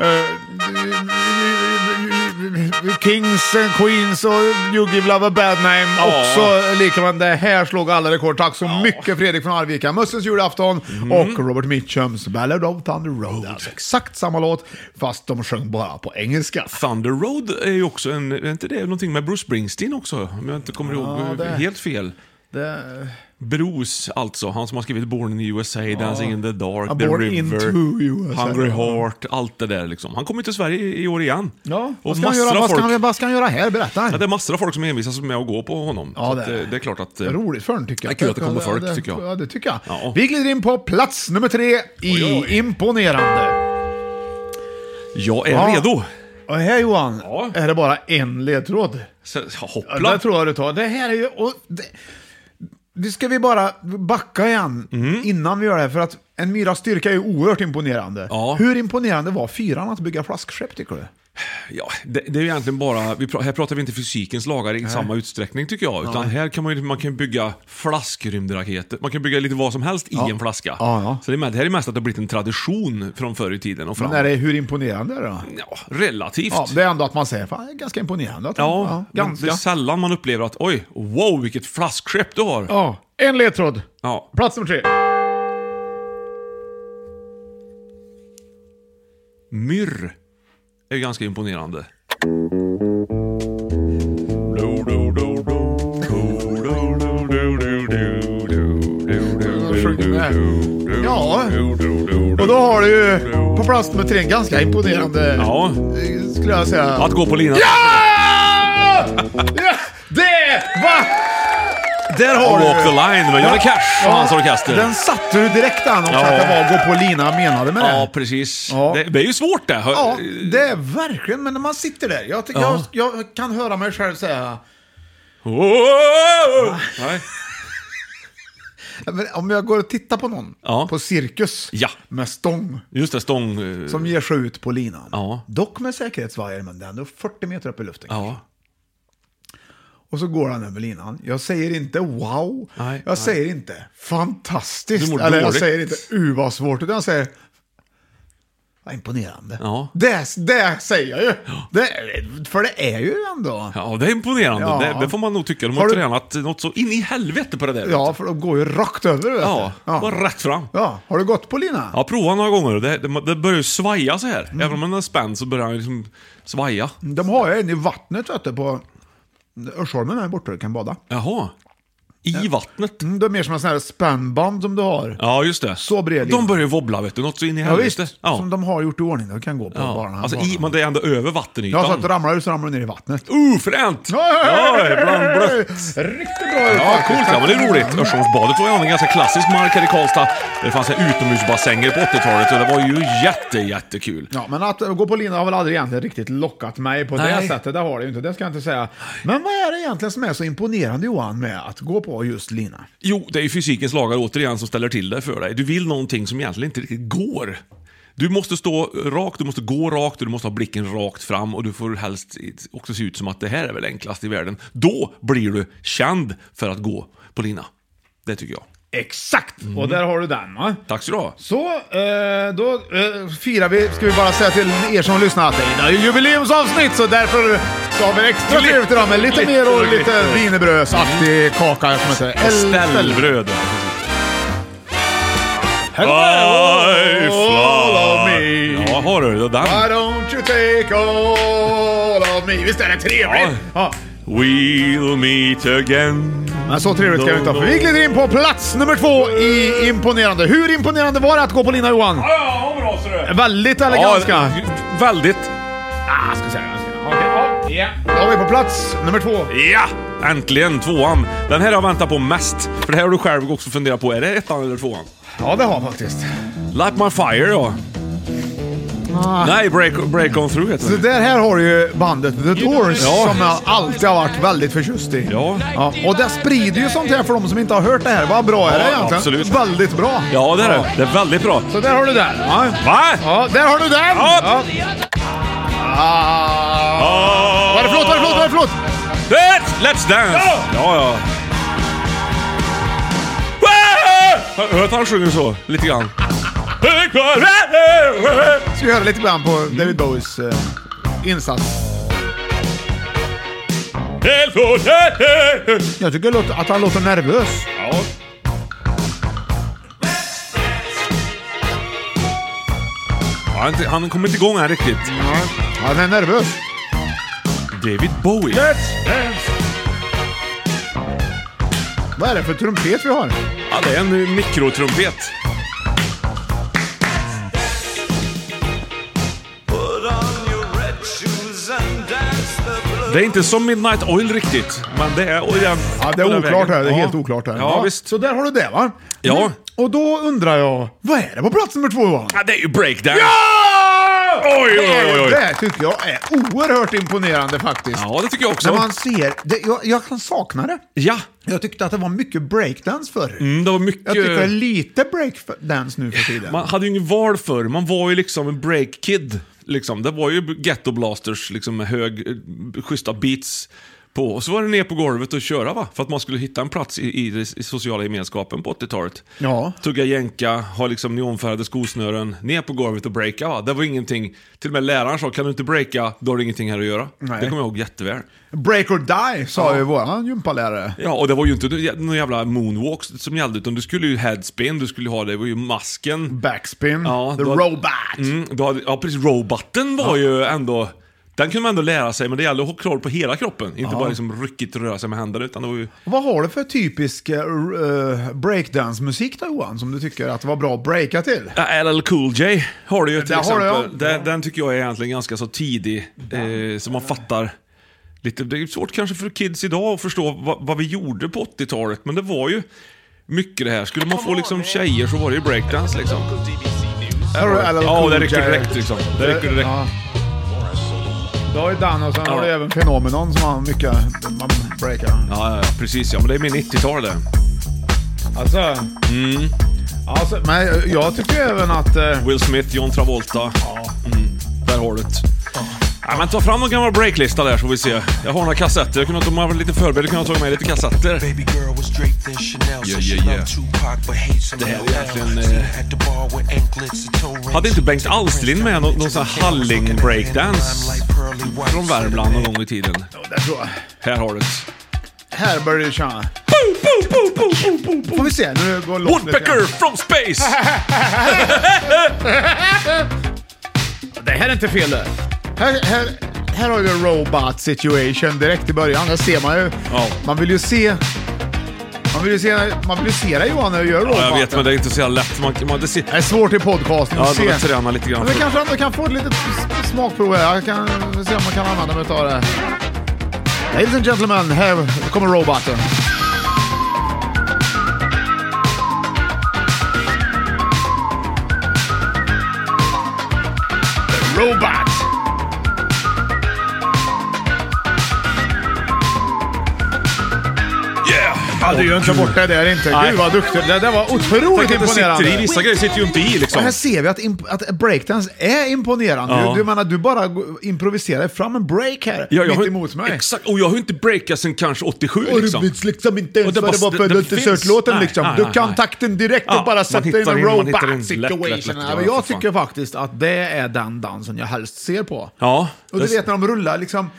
eh, Kings and Queens och You Give Love a Bad Name också lika men det här slog alla rekord. Tack så mycket Fredrik från Arvika, Mössens julafton
Mm.
och Robert Mitchums Ballad of Thunder Road. Alltså exakt samma låt fast de sjöng bara på engelska.
Thunder Road är ju också en... Är inte det någonting med Bruce Springsteen också? Om jag inte kommer ihåg
det-
helt fel.
Det...
Bruce, alltså. Han som har skrivit Born in USA, Dancing in the Dark,
Ja,
The
Born
River,
into USA.
Hungry Heart, allt det där liksom. Han kommer ju till Sverige i år igen.
Ja,
och
vad ska, han
massor
göra,
av
vad, ska
folk-
han, vad ska han göra här? Berätta.
Ja, det är massor av folk som envisas med att gå på honom.
Ja,
Så
det
att,
är
eh, det är klart att...
Det
eh,
är roligt för den tycker
Det
jag.
är kul att det kommer folk,
det-
tycker jag.
Ja, det tycker jag.
Ja.
Vi glider in på plats nummer tre i
oj, oj.
imponerande.
Jag är
Ja.
redo!
Och här Johan,
Ja.
är det bara en ledtråd?
Så,
Ja,
hoppla!
det tror jag du tar. Det här är ju... Och det, nu ska vi bara backa igen
Mm.
innan vi gör det här, för att en myras styrka är ju oerhört imponerande.
Ja.
Hur imponerande var fyran att bygga flaskskepp tycker du?
Ja, det, det är ju egentligen bara, vi, pra- här pratar vi inte fysikens lagar i samma utsträckning tycker jag. Utan här kan man ju man kan bygga flaskrymdraketer. Man kan bygga lite vad som helst i en flaska.
Ja, ja.
Så det, är med, det här är mest att det har blivit en tradition från förr i tiden och
Men är
framåt.
det, hur imponerande är det då?
Ja, relativt.
Ja, det är ändå att man säger, fan, det är ganska imponerande. Att
Ja, men
ganska.
det är sällan man upplever att oj, wow vilket flaskskepp du har.
Ja, en ledtråd.
Ja.
Plats nummer tre.
Myrr är ju ganska imponerande. Do, do, do, do, do, do, do, do, do, do, do, do, do,
Sjunger med.
do, do,
Ja.
do, do, do, do.
Och då har du ju på plats med tre en ganska imponerande,
Ja,
eh, skulle jag säga.
att gå på linan.
Ja! ja! Det var... Där har du!
Walk the line med Johnny Cash och hans orkester.
Den satte du direkt an också
Ja.
att det var gå på lina menade med
Ja,
det.
precis.
Ja.
Det, det är ju svårt det. Hör-
Ja, det är verkligen, men när man sitter där. Jag, tycker-
Ja.
jag, jag kan höra mig själv säga...
Wow! Nej.
men Om jag går och tittar på någon
Ja.
på cirkus
Ja.
med stång
Just det, stång... eh,
som ger sig ut på linan.
Ja.
Dock med säkerhetsvajer, men det är ändå 40 meter upp i luften.
Ja.
Och så går han över linan. Jag säger inte wow.
Nej,
jag
nej.
säger inte
Du
fantastiskt.
mår
Eller jag
dåligt.
säger inte uh vad svårt. Utan jag säger vad imponerande.
Ja.
Det, det säger jag ju. Det, för det är ju ändå.
Ja, det är imponerande.
Ja.
Det, det får man nog tycka. De har,
Har du-
tränat något så in i helvete på det där.
Ja, för de går ju rakt över. Vet
ja.
du. ja.
Bara rätt fram.
ja. Har du gått på lina?
Ja, prova några gånger. Det, det, det börjar ju svaja så här.
Mm.
Även om den är spänd så börjar den liksom svaja.
De har ju en i vattnet vet du, på Örsholmen här borta. Du kan bada.
Jaha. I vattnet.
Mm, Det är mer som en sån här spännband som du har.
Ja, just det.
Så bred linje.
De börjar ju wobbla, vet du. Något så in i
Ja,
helvete.
visst, som de har gjort i ordning. Du kan gå på
ja.
banan.
Alltså, i, men det är ändå över vattenytan.
Ja, så att ramlar du så ramlar du ner i vattnet.
Uh, fränt! Ja, ibland blött.
Riktigt bra ut
Ja,
faktiskt.
coolt. Ja, men det är
Mm.
roligt. Örsholmsbadet var ju en ganska klassisk mark här i Karlstad. Det fanns här utomhusbassänger på 80-talet och det var ju jätte, jättekul.
Ja, men att gå på lina har väl aldrig egentligen riktigt lockat mig på det
Nej.
sättet. Det har det ju inte, det ska jag inte säga. Men vad är det egentligen som är så imponerande Johan med att gå på just lina?
Jo, det är ju fysikens lagar återigen som ställer till det för dig. Du vill någonting som egentligen inte riktigt går. Du måste stå rakt, du måste gå rakt och du måste ha blicken rakt fram och du får helst också se ut som att det här är väl enklast i världen. Då blir du känd för att gå på lina. Det tycker jag.
Exakt!
Mm.
Och där har du den va?
Tack så du ha.
Så, eh, då eh, firar vi, ska vi bara säga till er som lyssnar att det är jubileumsavsnitt så därför så har vi extra trevligt idag med lite mer och lite wienerbrödsaktig kaka. Jag kommer inte
Ställbröd.
Hello,
I
follow me.
Ja, har du. Det där.
Why don't you take all of me? Visst är det trevligt? Ja.
We'll meet again.
Men så trevligt ska vi inte ha, för vi glider in på plats nummer två i imponerande. Hur imponerande var det att gå på lina Johan?
Ja, bra ser du.
Väldigt eleganska.
väldigt.
Ah, ska säga. Okej, ja. Då har vi på plats nummer två.
Ja! Äntligen tvåan. Den här har jag väntat på mest. För det här har du själv också funderat på. Är det ettan eller tvåan?
Ja, det har jag faktiskt.
Light My Fire ja. Nej, break, break On Through heter
Ah. Så
den.
där här har du ju bandet The Doors
Ja.
som jag alltid har varit väldigt förtjust i.
Ja.
Ja, och det sprider ju sånt här för de som inte har hört det här. Vad bra är det
Ja,
egentligen?
absolut.
Väldigt bra.
Ja, det är det. Det är väldigt bra.
Så där har du den. Ja.
Va?
ja, där har du den!
Ja.
Ah.
Ah.
Var det förlåt, var det förlåt, var det förlåt?
Let's, let's dance! Ja, ja. Har du hört han sjunger så? Lite grann.
Ska vi höra lite grann på David Bowies eh, insats? Jag tycker låt- att han låter nervös.
Ja. Han, han kommer inte igång här riktigt.
Han är nervös.
David Bowie.
Vad är det för trumpet vi har?
Ja, det är en eh, mikrotrumpet. Det är inte som Midnight Oil riktigt, men det är... Och den,
Ja, det
och
är
den
oklart
vägen.
här. Det är
Ja.
helt oklart här.
Ja, visst.
Så där har du det va?
Ja.
Mm. Och då undrar jag, vad är det på plats nummer två Johan?
Ja, det är ju breakdance. Ja! Oj, oj, oj, oj.
Det tycker jag är oerhört imponerande faktiskt.
Ja, det tycker jag också.
När man ser, det, jag, jag kan sakna det.
Ja,
Jag tyckte att det var mycket breakdance förr.
mm, det var
Jag
mycket...
tycker det är lite breakdance nu för tiden.
Man hade ju ingen val förr. Man var ju liksom en break-kid. Liksom. Det var ju ghetto blasters liksom, med hög, eh, schyssta beats på. Och så var det ner på golvet och köra va? För att man skulle hitta en plats i, i den sociala gemenskapen på 80-talet.
Ja.
Tugga jänka, ha liksom neonfärgade skosnören, ner på golvet och breaka va? Det var ingenting. Till och med läraren sa, kan du inte breaka, då har du ingenting här att göra.
Nej.
Det kommer jag ihåg jätteväl.
Break or die sa ju våran gympalärare.
Ja, och det var ju inte någon jävla moonwalk som gällde, utan du skulle ju headspin, du skulle ju ha det, det var ju masken.
Backspin,
Ja,
the
då-
robot.
Mm, då hade, ja precis, roboten var ju ändå... Den kunde man ändå lära sig, men det gällde att ha koll på hela kroppen. Inte bara liksom ryckigt röra sig med händerna, utan det var ju...
Vad har du för typisk uh, breakdance-musik då Johan, som du tycker att det var bra att breaka till?
Ja, LL Cool J har du ju till
Där har
exempel.
du, ja.
Den, den tycker jag är egentligen ganska så tidig, eh, så man fattar. Lite, det är svårt kanske för kids idag att förstå vad, vad vi gjorde på 80-talet, men det var ju mycket det här. Skulle man få liksom tjejer så var det ju breakdance liksom.
Här har du LL
Ja,
Cool
det räcker
J.
direkt liksom. Det räcker direkt.
Ja. Då har ju Dan och sen har du
Ja.
även Phenomenon som har mycket man breakar.
Ja, ja, ja, precis ja. Men det är min 90-tal det.
Alltså...
Mm.
Alltså, men jag- jag tycker även att... eh,
Will Smith, John Travolta. Mm, där har du det. Ja, men ta fram någon gammal breaklista där så får vi se. Jag har några kassetter. Jag kunde ha tagit med lite förberedelser. kunde ha tagit med lite kassetter.
Baby girl was draped in Chanel,
Yeah,
so she
yeah, yeah.
loved Tupac but hates him
Det här
now.
är egentligen, eh,
See her at the bar with anklets and toe rings.
Hade inte Bengt Alsterlind med någon, någon sån här halling breakdance från Värmland någon gång i tiden?
där tror jag.
Här har du det.
Här börjar det tjäna. Får vi se nu går långt lite
Woodpecker
grann.
from space!
Det här är inte fel det. Här, här, här har vi en robot situation direkt i början. Där ser man ju.
Ja.
Man vill ju se... Man vill ju se, man vill ju se dig Johan när du gör roboten.
Ja, jag vet, men det är inte så jävla lätt. Man, man, det ser,
Det är svårt i podcasten
ja,
att
man
se.
träna lite grann.
Men vi kanske ändå kan få ett litet s- smakprov här. Jag kan se om man kan använda mig av det. Ladies and gentlemen, här kommer roboten. The Robot!
Yeah!
Ja, du är ju inte borta där inte. Gud vad duktig. Det där var otroligt
Mm. Tänk att det
imponerande.
sitter i, vissa grejer sitter ju inte i
Och
liksom.
här ser vi att, imp- att breakdance är imponerande.
Ja.
Du, du menar, du bara g- improviserar fram en break här,
Ja, jag har-
mitt emot mig.
Exakt, och jag har ju inte breakat sen kanske 87
Och
liksom.
du vet liksom inte ens
Och det
vad det
bara-
var för
det- det
Dessert-låten
finns-
liksom.
nej,
Du
nej,
kan
nej.
takten direkt
Ja,
och bara
man
sätter in
hittar
en
in- man
rollback
hittar in lätt, lätt,
situation.
lätt, lätt,
Ja,
ja,
men
för
jag
fan.
tycker faktiskt att det är den dansen jag helst ser på.
Ja.
Och du
det-
vet när de rullar liksom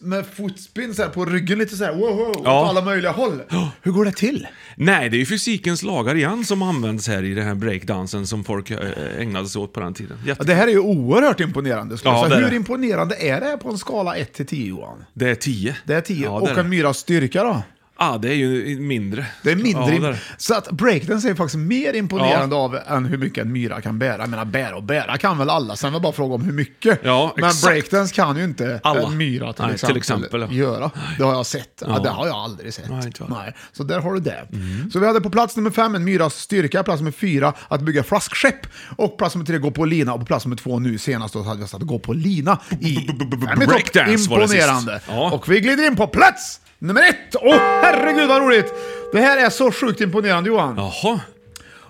med fotspinn så här på ryggen lite så här, wow, wow, åt
Ja.
alla möjliga håll. Hur går det till?
Nej, det är ju fysikens lagar igen som används här i den här breakdansen som folk eh, ägnade sig åt på den tiden.
Ja,
Jätte-
det här är ju oerhört imponerande. Skulle
Ja,
jag
det
säga.
är
Hur
det.
imponerande är det här på en skala 1 till 10 Johan?
Det är 10.
Det är 10.
Ja, det
och
är det.
en myras styrka då?
Ah, det är ju mindre.
Det är mindre.
Ja,
imp-
det är det.
Så att breakdance är faktiskt mer imponerande av än hur mycket en myra kan bära. Jag menar bära och bära kan väl alla, sen är det bara fråga om hur mycket.
Ja,
Men
exakt.
breakdance kan ju inte
Alla.
en myra till
Nej, till
exempel,
exempel, ja.
göra. Det har jag sett. Ja.
Ja.
Det har jag aldrig sett.
Nej, inte jag. Mm.
Nej. Så där har du det. Så vi hade på plats nummer fem en myras styrka, plats nummer fyra att bygga flaskskepp och plats nummer tre gå på lina och på plats nummer två nu senast då så hade jag satt gå på lina i Nej, men topp.
breakdance var det sist.
Imponerande.
Ja.
Och vi glider in på plats nummer ett. Åh herregud vad roligt! Det här är så sjukt imponerande Johan.
Jaha.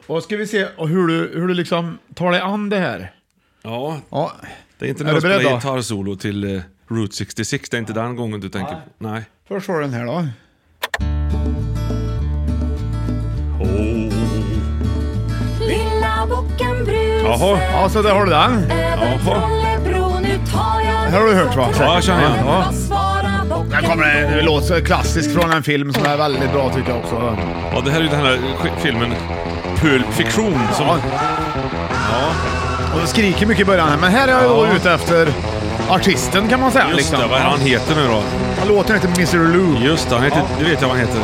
Och ska vi se hur du, hur du liksom tar dig an det här.
Ja.
Ja.
Det är inte
Är
när
du
jag spelar
beredd då?
gitarrsolo till eh, Route 66, det är inte den gången du tänker på. Nej.
Först har du den här då.
Lilla bocken brusar
Ja, så där har du den.
över Trollebro Nu tar jag
Det här har du hört va?
Ja, jag känner igen den.
Ja.
svara bocken
Där kommer en, en låt som är klassisk från en film som är väldigt bra tycker jag också.
Ja, det här är ju den här sk- filmen Pulp Fiction som...
Ja. Och det skriker mycket i början här, men här är jag då ute efter artisten kan man säga.
Just
liksom.
det, vad är han heter nu då?
Ja, Låten heter Mr. Lou.
Just det, han heter, det vet jag vad han heter.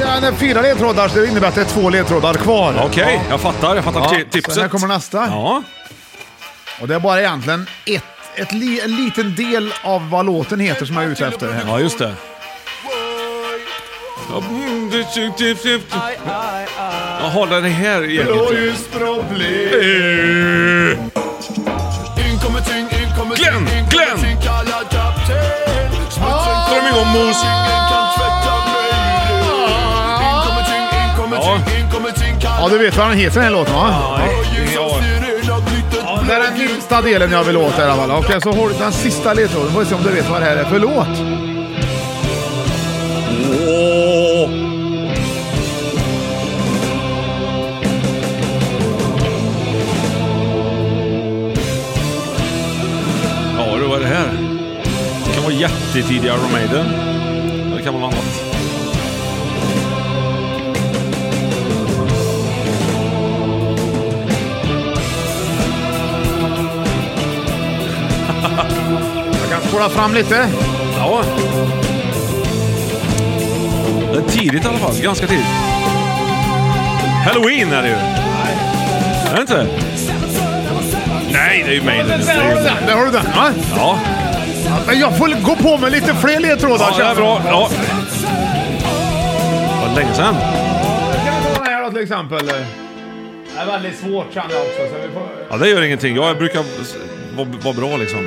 Ja, det är fyra ledtrådar, så det innebär att det är två ledtrådar kvar.
Okej, jag fattar. Jag fattar
Ja,
ti- tipset.
så här kommer nästa.
Ja.
Och det är bara egentligen ett, ett li, en liten del av vad låten heter som jag är ute efter. Här.
ja, just det. typ, Jaha, det är det här egentligen. Eh, Glenn! Glenn! Drar de igång mos. Ja.
Ja, du vet vad den heter den här låten va? Det är den minsta delen jag vill åt i alla fall. Okej, så har du den sista ledtråden. Får vi se om du vet vad det här är för låt.
Åh! Ja, det var det här. Det kan vara jättetidiga Iron Maiden. Eller Det kan vara något annat.
Jag kan spola fram lite.
Ja. Det är tidigt i alla fall. Ganska tidigt. Halloween är det ju. Är det inte? Nej, det är ju Maiden.
Där har du den, där har du den va?
Ja,
Men jag får gå på med lite fler ledtrådar.
ja det är bra. Ja. Vad länge sedan.
Kan vi ta den här då till exempel? Det är väldigt svårt känner jag också. Så vi får...
Ja, det gör ingenting. Jag brukar s- vara vara bra liksom.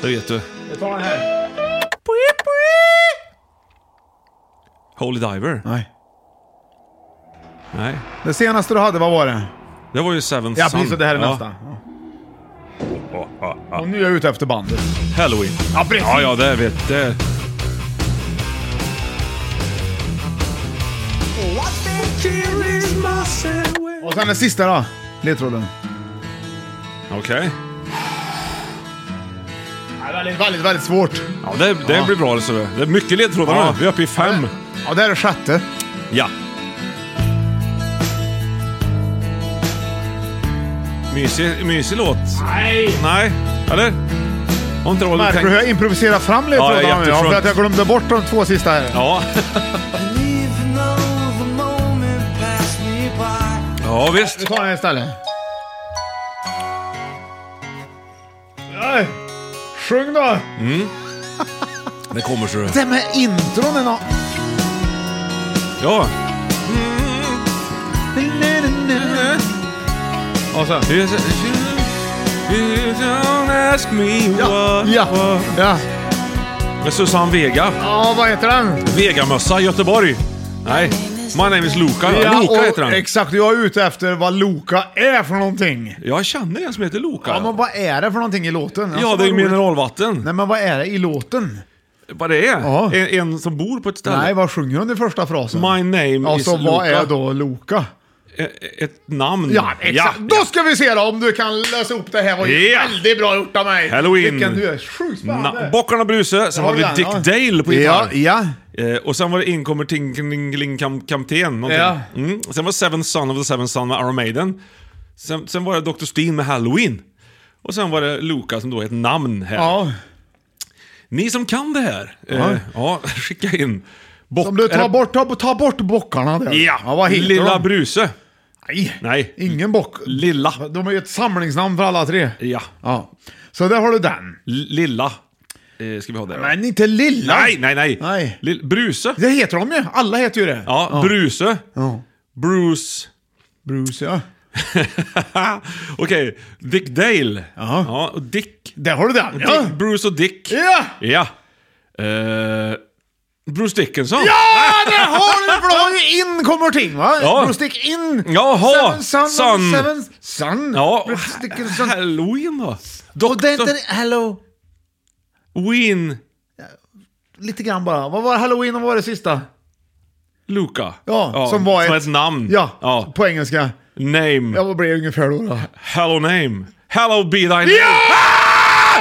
Det vet du.
Vi tar den här.
Holy Diver?
Nej.
Nej.
Det senaste du hade, vad var det?
Det var ju Seventh
Ja,
Son.
precis. och Det här är
Ja.
nästa.
Ja, ja, ja.
Och nu är jag ute efter bandet.
Halloween. Ja, precis. Ja, ja, det vet du.
Och sen den sista då. Ledtråden.
Okej.
Väldigt, väldigt, väldigt svårt.
Ja, det, det blir bra. Alltså. Det är mycket ledtrådar
Ja.
nu. Vi är uppe i fem.
Ja, det här är sjätte.
Ja. Mysig, mysig låt. Nej! Nej, eller? Har inte Roland
Märker du
tänkt?
hur jag improviserar fram ledtrådarna
Ja, jag är
nu? Ja, för
jättefront.
att jag glömde bort de två sista här.
Ja. ja, visst.
Vi tar den här istället. Nej. Sjung då!
Det kommer så du.
Det med intronen och...
Ja.
Och sen...
You don't ask me
Ja,
what-
ja, ja.
Med Susanne Vega.
Ja, vad heter den?
Vegamössa, Göteborg. Nej. My name is Luca.
Ja,
Luca
och-
heter han.
Exakt, jag är ute efter vad Loka är för någonting.
Jag känner en som heter Loka.
Ja, men vad är det för någonting i låten? Alltså,
Ja, det är mineralvatten.
Nej, men vad är det i låten?
Vad det är? En, en som bor på ett ställe?
Nej, vad sjunger hon i första frasen?
My name
Ja,
is
så vad
Luca.
är då Loka?
E- Ett namn.
Ja, exakt.
Mm. Ja.
Då ska vi se då om du kan lösa upp det här. var ju
Ja.
väldigt bra gjort av mig.
Halloween.
Vilken du är. Sjukt
Na-
spännande.
Bockarna Bruse, sen
Har
har vi
vi den,
Dick
ja.
Dale på
Ja,
gitarr. Eh, och sen var det Inkommer Tingeling Kapten.
Ja.
Mm. Sen var det Seven Son of the Seven Son med Iron Maiden. Sen, sen var det Dr. Steen med Halloween. Och sen var det Luca som då är ett namn här.
Ja.
Ni som kan det här,
Ja.
eh, ja, skicka in. Bock,
Om du
är
tar
det-
bort, ta, ta bort bockarna där.
Ja,
vad heter
Lilla
de?
Bruse.
Nej.
Nej.
Ingen bock.
Lilla.
De är ju ett samlingsnamn för alla tre.
Ja.
Ja. Så där har du den.
L- Lilla. Eh, ska vi ha det då?
Men inte lilla.
Nej, nej, nej.
Nej.
Lill- Bruse.
Det heter de ju. Alla heter ju det.
Ja, Bruse.
Ja.
Bruce.
Bruce, ja.
Okej, Dick Dale.
Ja.
Ja, och Dick.
Där har du den.
Och
Ja.
Dick, Bruce och Dick.
Ja!
Ja. Eh, Bruce Dickinson.
Ja, där har du För då har ju in kommer ting va?
Ja.
Bruce Dick in.
Jaha,
Seven sun.
sun.
Seven sun.
Ja,
Bruce Dickinson.
Halloween då?
Och det är inte... Hello.
Win
Lite grann bara. Vad var halloween och vad var det sista?
Luca.
Ja, som var
som
ett-
ett namn.
Ja, på engelska.
Name.
Ja, vad blir det ungefär då? då?
Hello name. Hello be thy name.
Ja! Ah,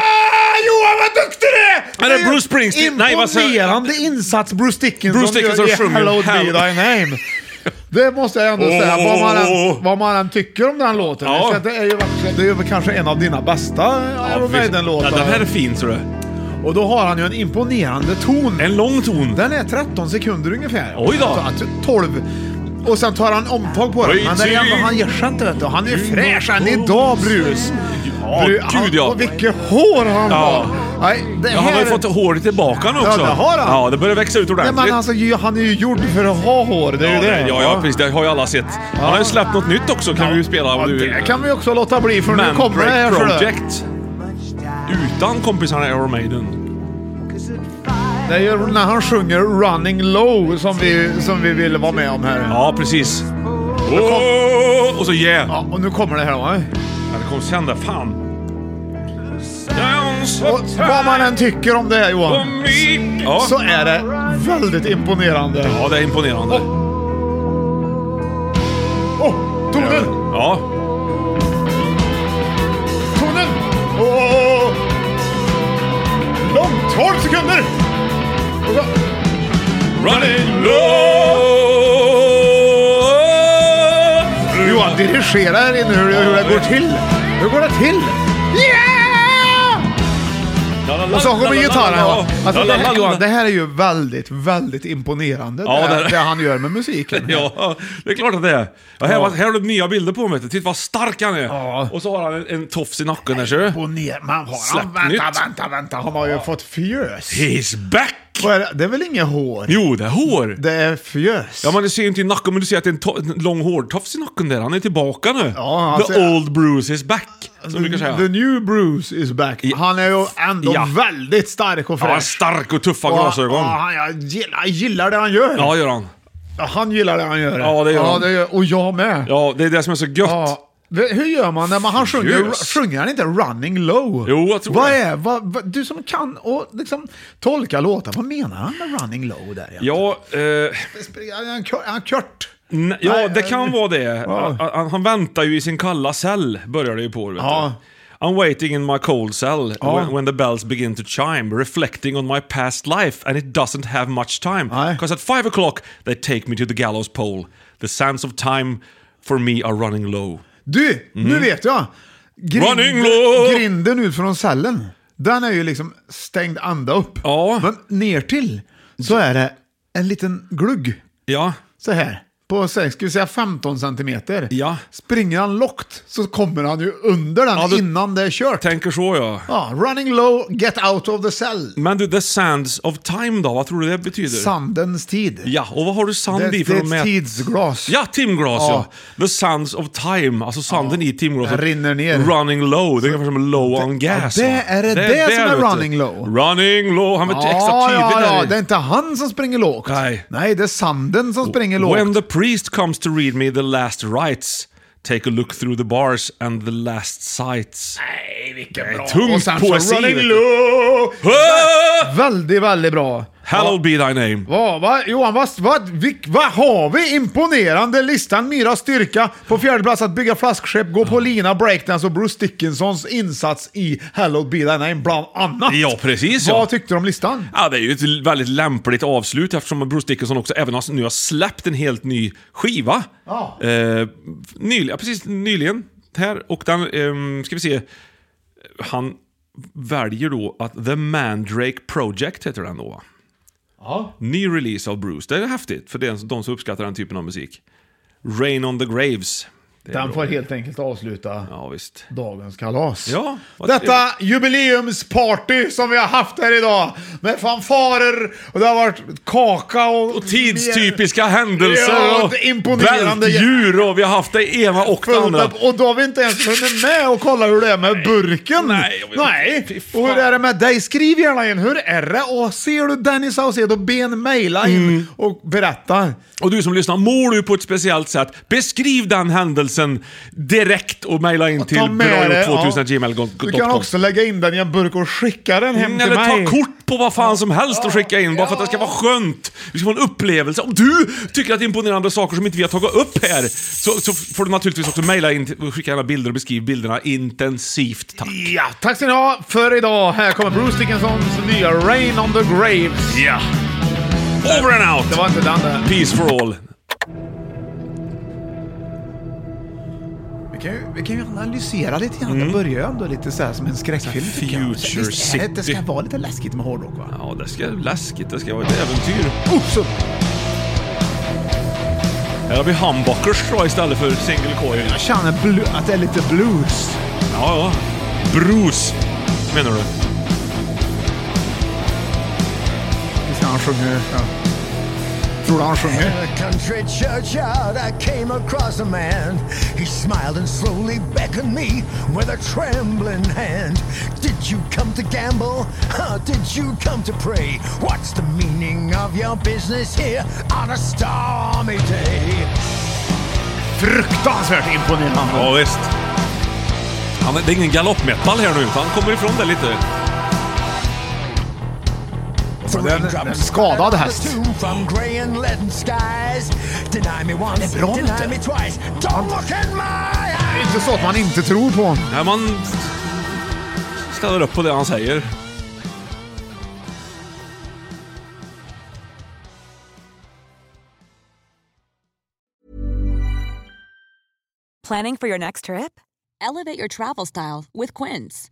Johan vad duktig du är!
Men det är Bruce Springsteen. Nej, vad säger-
Imponerande insats Bruce Dickinson
Bruce Dickinson
gör i
sjunger
Hello Be
Hello.
Thy Name. Det måste jag ändå säga, vad man, än, vad man än tycker om den låten.
Ja.
Jag ska- Det, är ju, verkligen- det är ju kanske en av dina bästa Iron
visst.
Maiden-låtar.
Ja, den här är fin tror du.
Och då har han ju en imponerande ton.
En lång ton.
Den är 13 sekunder ungefär.
Oj då.
Så att 12. Och sen tar han omtag på den. Men det är ändå, han gör sig inte vet du. Han är fräsch än idag Bruce.
Ja,
Bru- han-
gud ja.
Och vilket hår han
Ja.
har! Nej, det
ja. Han har
här-
ju fått håret tillbaka nu
Ja,
också.
det har han.
Ja, det börjar växa ut
Nej,
ordentligt.
men alltså, ju- han är ju gjord för att ha hår, det är
Ja,
ju det.
det, ja, ja, precis. Det har ju alla sett. Han har ju släppt något nytt också kan vi ju spela
Ja,
om du vill.
det kan vi också låta bli för nu kommer det här. ser du.
Project. Utan kompisarna Iron Maiden.
Det är ju när han sjunger Running Low som vi, som vi vill vara med om här.
Ja, precis. Åh, och så yeah.
Ja, och nu kommer det här va?
Ja, det kommer sen där. Fan.
Och vad man än tycker om det här Johan,
Ja.
så är det väldigt imponerande.
ja, det är imponerande.
Åh, tonen!
Ja.
Tonen! Åh! Långt, 12 sekunder! Och så-
Running low.
Johan, dirigera här inne hur, hur det går till. Hur går det till? Yeah! Och så kommer gitarren. va? Alltså, det, här, Johan, det här är ju väldigt, väldigt imponerande.
Ja,
det,
det är-
här, det han gör med musiken.
Ja, det är klart att det är. Ja, här,
Ja.
var- här har du nya bilder på mig. Titta vad stark han är.
Ja.
Och så har han en, en tofs i nacken där ser du.
Imponer- Man har,
Släpp
han, vänta,
nytt.
vänta, vänta. Han har ju fått fjös.
He's back!
Vad är det? det är väl inget hår?
Jo, det är hår.
Det är fjös.
Ja, men du ser inte i nacken, men du ser att det är en, to- en lång hårtofs i nacken där. Han är tillbaka nu.
Ja, han
The
ser-
old Bruce is back, som vi brukar säga.
The new Bruce is back.
Ja.
Han är ju ändå
Ja.
väldigt stark och
Ja, han är
fräsch.
stark och tuffa
Och-
glasögon.
och han, jag, gillar, jag gillar det han gör.
Ja, gör han.
Ja, Han gillar det han gör.
Ja, det gör
ja,
han.
det gör, Och jag med.
Ja, det är det som är så gött.
Ja. V- Hur gör man när man, han sjunger,
Yes.
sjunger han inte running low?
Jo, jag tror
vad
det.
Är, vad, vad, du som kan och liksom tolka låtar, vad menar han med running low där egentligen?
Ja, eh,
Är han kör- är han kört?
n- ja det kan vara det.
eh, Ja.
Han- Han, han väntar ju i sin kalla cell, börjar det ju på. Vet
Ja.
du. I'm waiting in my cold cell
Ja.
when, when the bells begin to chime, reflecting on my past life and it doesn't have much time.
Nej.
Because at five o'clock they take me to the gallows pole. The sands of time for me are running low.
Du, nu vet jag!
Mm. Running low.
Grinden ut från cellen, den är ju liksom stängd ända upp.
Ja.
Men ner till så är det en liten glugg
Ja,
så här. på säg, ska vi säga 15 centimeter.
Ja.
Springer han lågt så kommer han ju under den innan det är kört.
Tänker så ja.
Ja, running low, get out of the cell.
Men du, the sands of time då? Vad tror Mm, du det betyder?
Sandens tid.
Ja, och vad har du sand
Det-
i för
det är
att
ett
mäta?
tidsglas.
Ja, timglas ja.
Ja.
The sands of time, alltså sanden i timglaset.
Den rinner ner.
Running low, det är ungefär som low on gas.
Ja, det är det det som är
vet du.
running low.
Running low, han var
ja,
extra tydlig
ja,
där.
ja, det är inte han som springer lågt.
Nej.
Nej, det är sanden som springer lågt.
When the priest comes to read me the last rites, take a look through the bars and the last sights. Nej, vilken
bra.
Tung
Och sen så
poesi.
running
vet du.
low.
Ah!
Väldigt, väldigt bra.
Hallowed be thy name.
Vad, va, Johan, vad, vad, vilk- vad har vi? Imponerande listan Myras styrka. På fjärde plats att bygga flaskskepp, gå på lina, breakdance och Bruce Dickinsons insats i Hello Be Thy Name bland annat.
Ja, precis, ja.
Vad tyckte du om listan?
Ja, det är ju ett väldigt lämpligt avslut eftersom Bruce Dickinson också även har, nu har släppt en helt ny skiva.
Ja.
Eh, nyligen, ja, precis nyligen här. Och den, ehm, ska vi se. Han väljer då att The Mandrake Project heter den då va? Ny release av Bruce. Det är häftigt för den, de som uppskattar den typen av musik. Rain on the Graves. Det är
Den
bra.
får helt enkelt avsluta
Ja, visst.
dagens kalas.
Ja, vad
Detta jubileumsparty som vi har haft här idag med fanfarer och det har varit kaka och...
Och tidstypiska händelser
Ja,
och
det imponerande-
djur och vi har haft det ena och det
fullt
andra.
upp. Och då har vi inte ens hunnit med och kolla hur det är med burken.
Nej, jag vet inte. Fy
Nej.
fan.
Och hur är det med dig? Skriv gärna in, hur är det? Och ser du Dennis Saucedo, ben mejla in
Mm.
och berätta.
Och du som lyssnar, mår du på ett speciellt sätt? Beskriv den händelsen direkt och mejla in till
Ta med det.
bragjort2000gmail.com.
Du kan också lägga in den i en burk och skicka den hem till
Mm, Eller
mig.
ta kort på vad fan som helst och skicka in bara för att det ska vara skönt. Vi ska få en upplevelse. Om du tycker att det är imponerande saker som inte vi har tagit upp här så, så får du naturligtvis också mejla in till- och skicka gärna bilder och beskriv bilderna intensivt. Tack!
Ja, tack ska ni ha för idag. Här kommer Bruce Dickinsons nya Rain on the Graves.
Ja! Over and out!
Det var inte den där.
Peace for all!
Vi kan, ju, vi kan ju analysera lite grann. Det börjar ju ändå lite så här som en skräckfilm. tycker jag.
Mm. Future
Visst är det- Det ska
City.
vara lite läskigt med hårdrock va?
Ja, det ska läskigt. Det ska vara ett äventyr.
Oops,
Här har vi humbuckers tror jag istället för single coil.
jag känner blu- att det är lite blues.
Ja, ja. Bruce, menar du?
Visst är han sjunger? Ja. Tror du han sjunger?
In a country churchyard, I came across a man. He smiled and slowly beckoned me with a trembling hand. Did you come to gamble? Or did you come to pray? What's the meaning of your business here on a stormy day?
Fruktansvärt imponerande.
Ja, visst. Han, det är ingen galoppmetall här nu, utan han kommer ifrån det lite.
Det är en- en skadad häst.
Tomb from grey and leaden skies. Deny me once,
Det är bra,
deny
inte.
me twice. Don't look in my
Det är inte så att man inte tror på honom.
Nej, man ställer upp på det han säger.
Planning for your next trip? Elevate your travel style with Quince.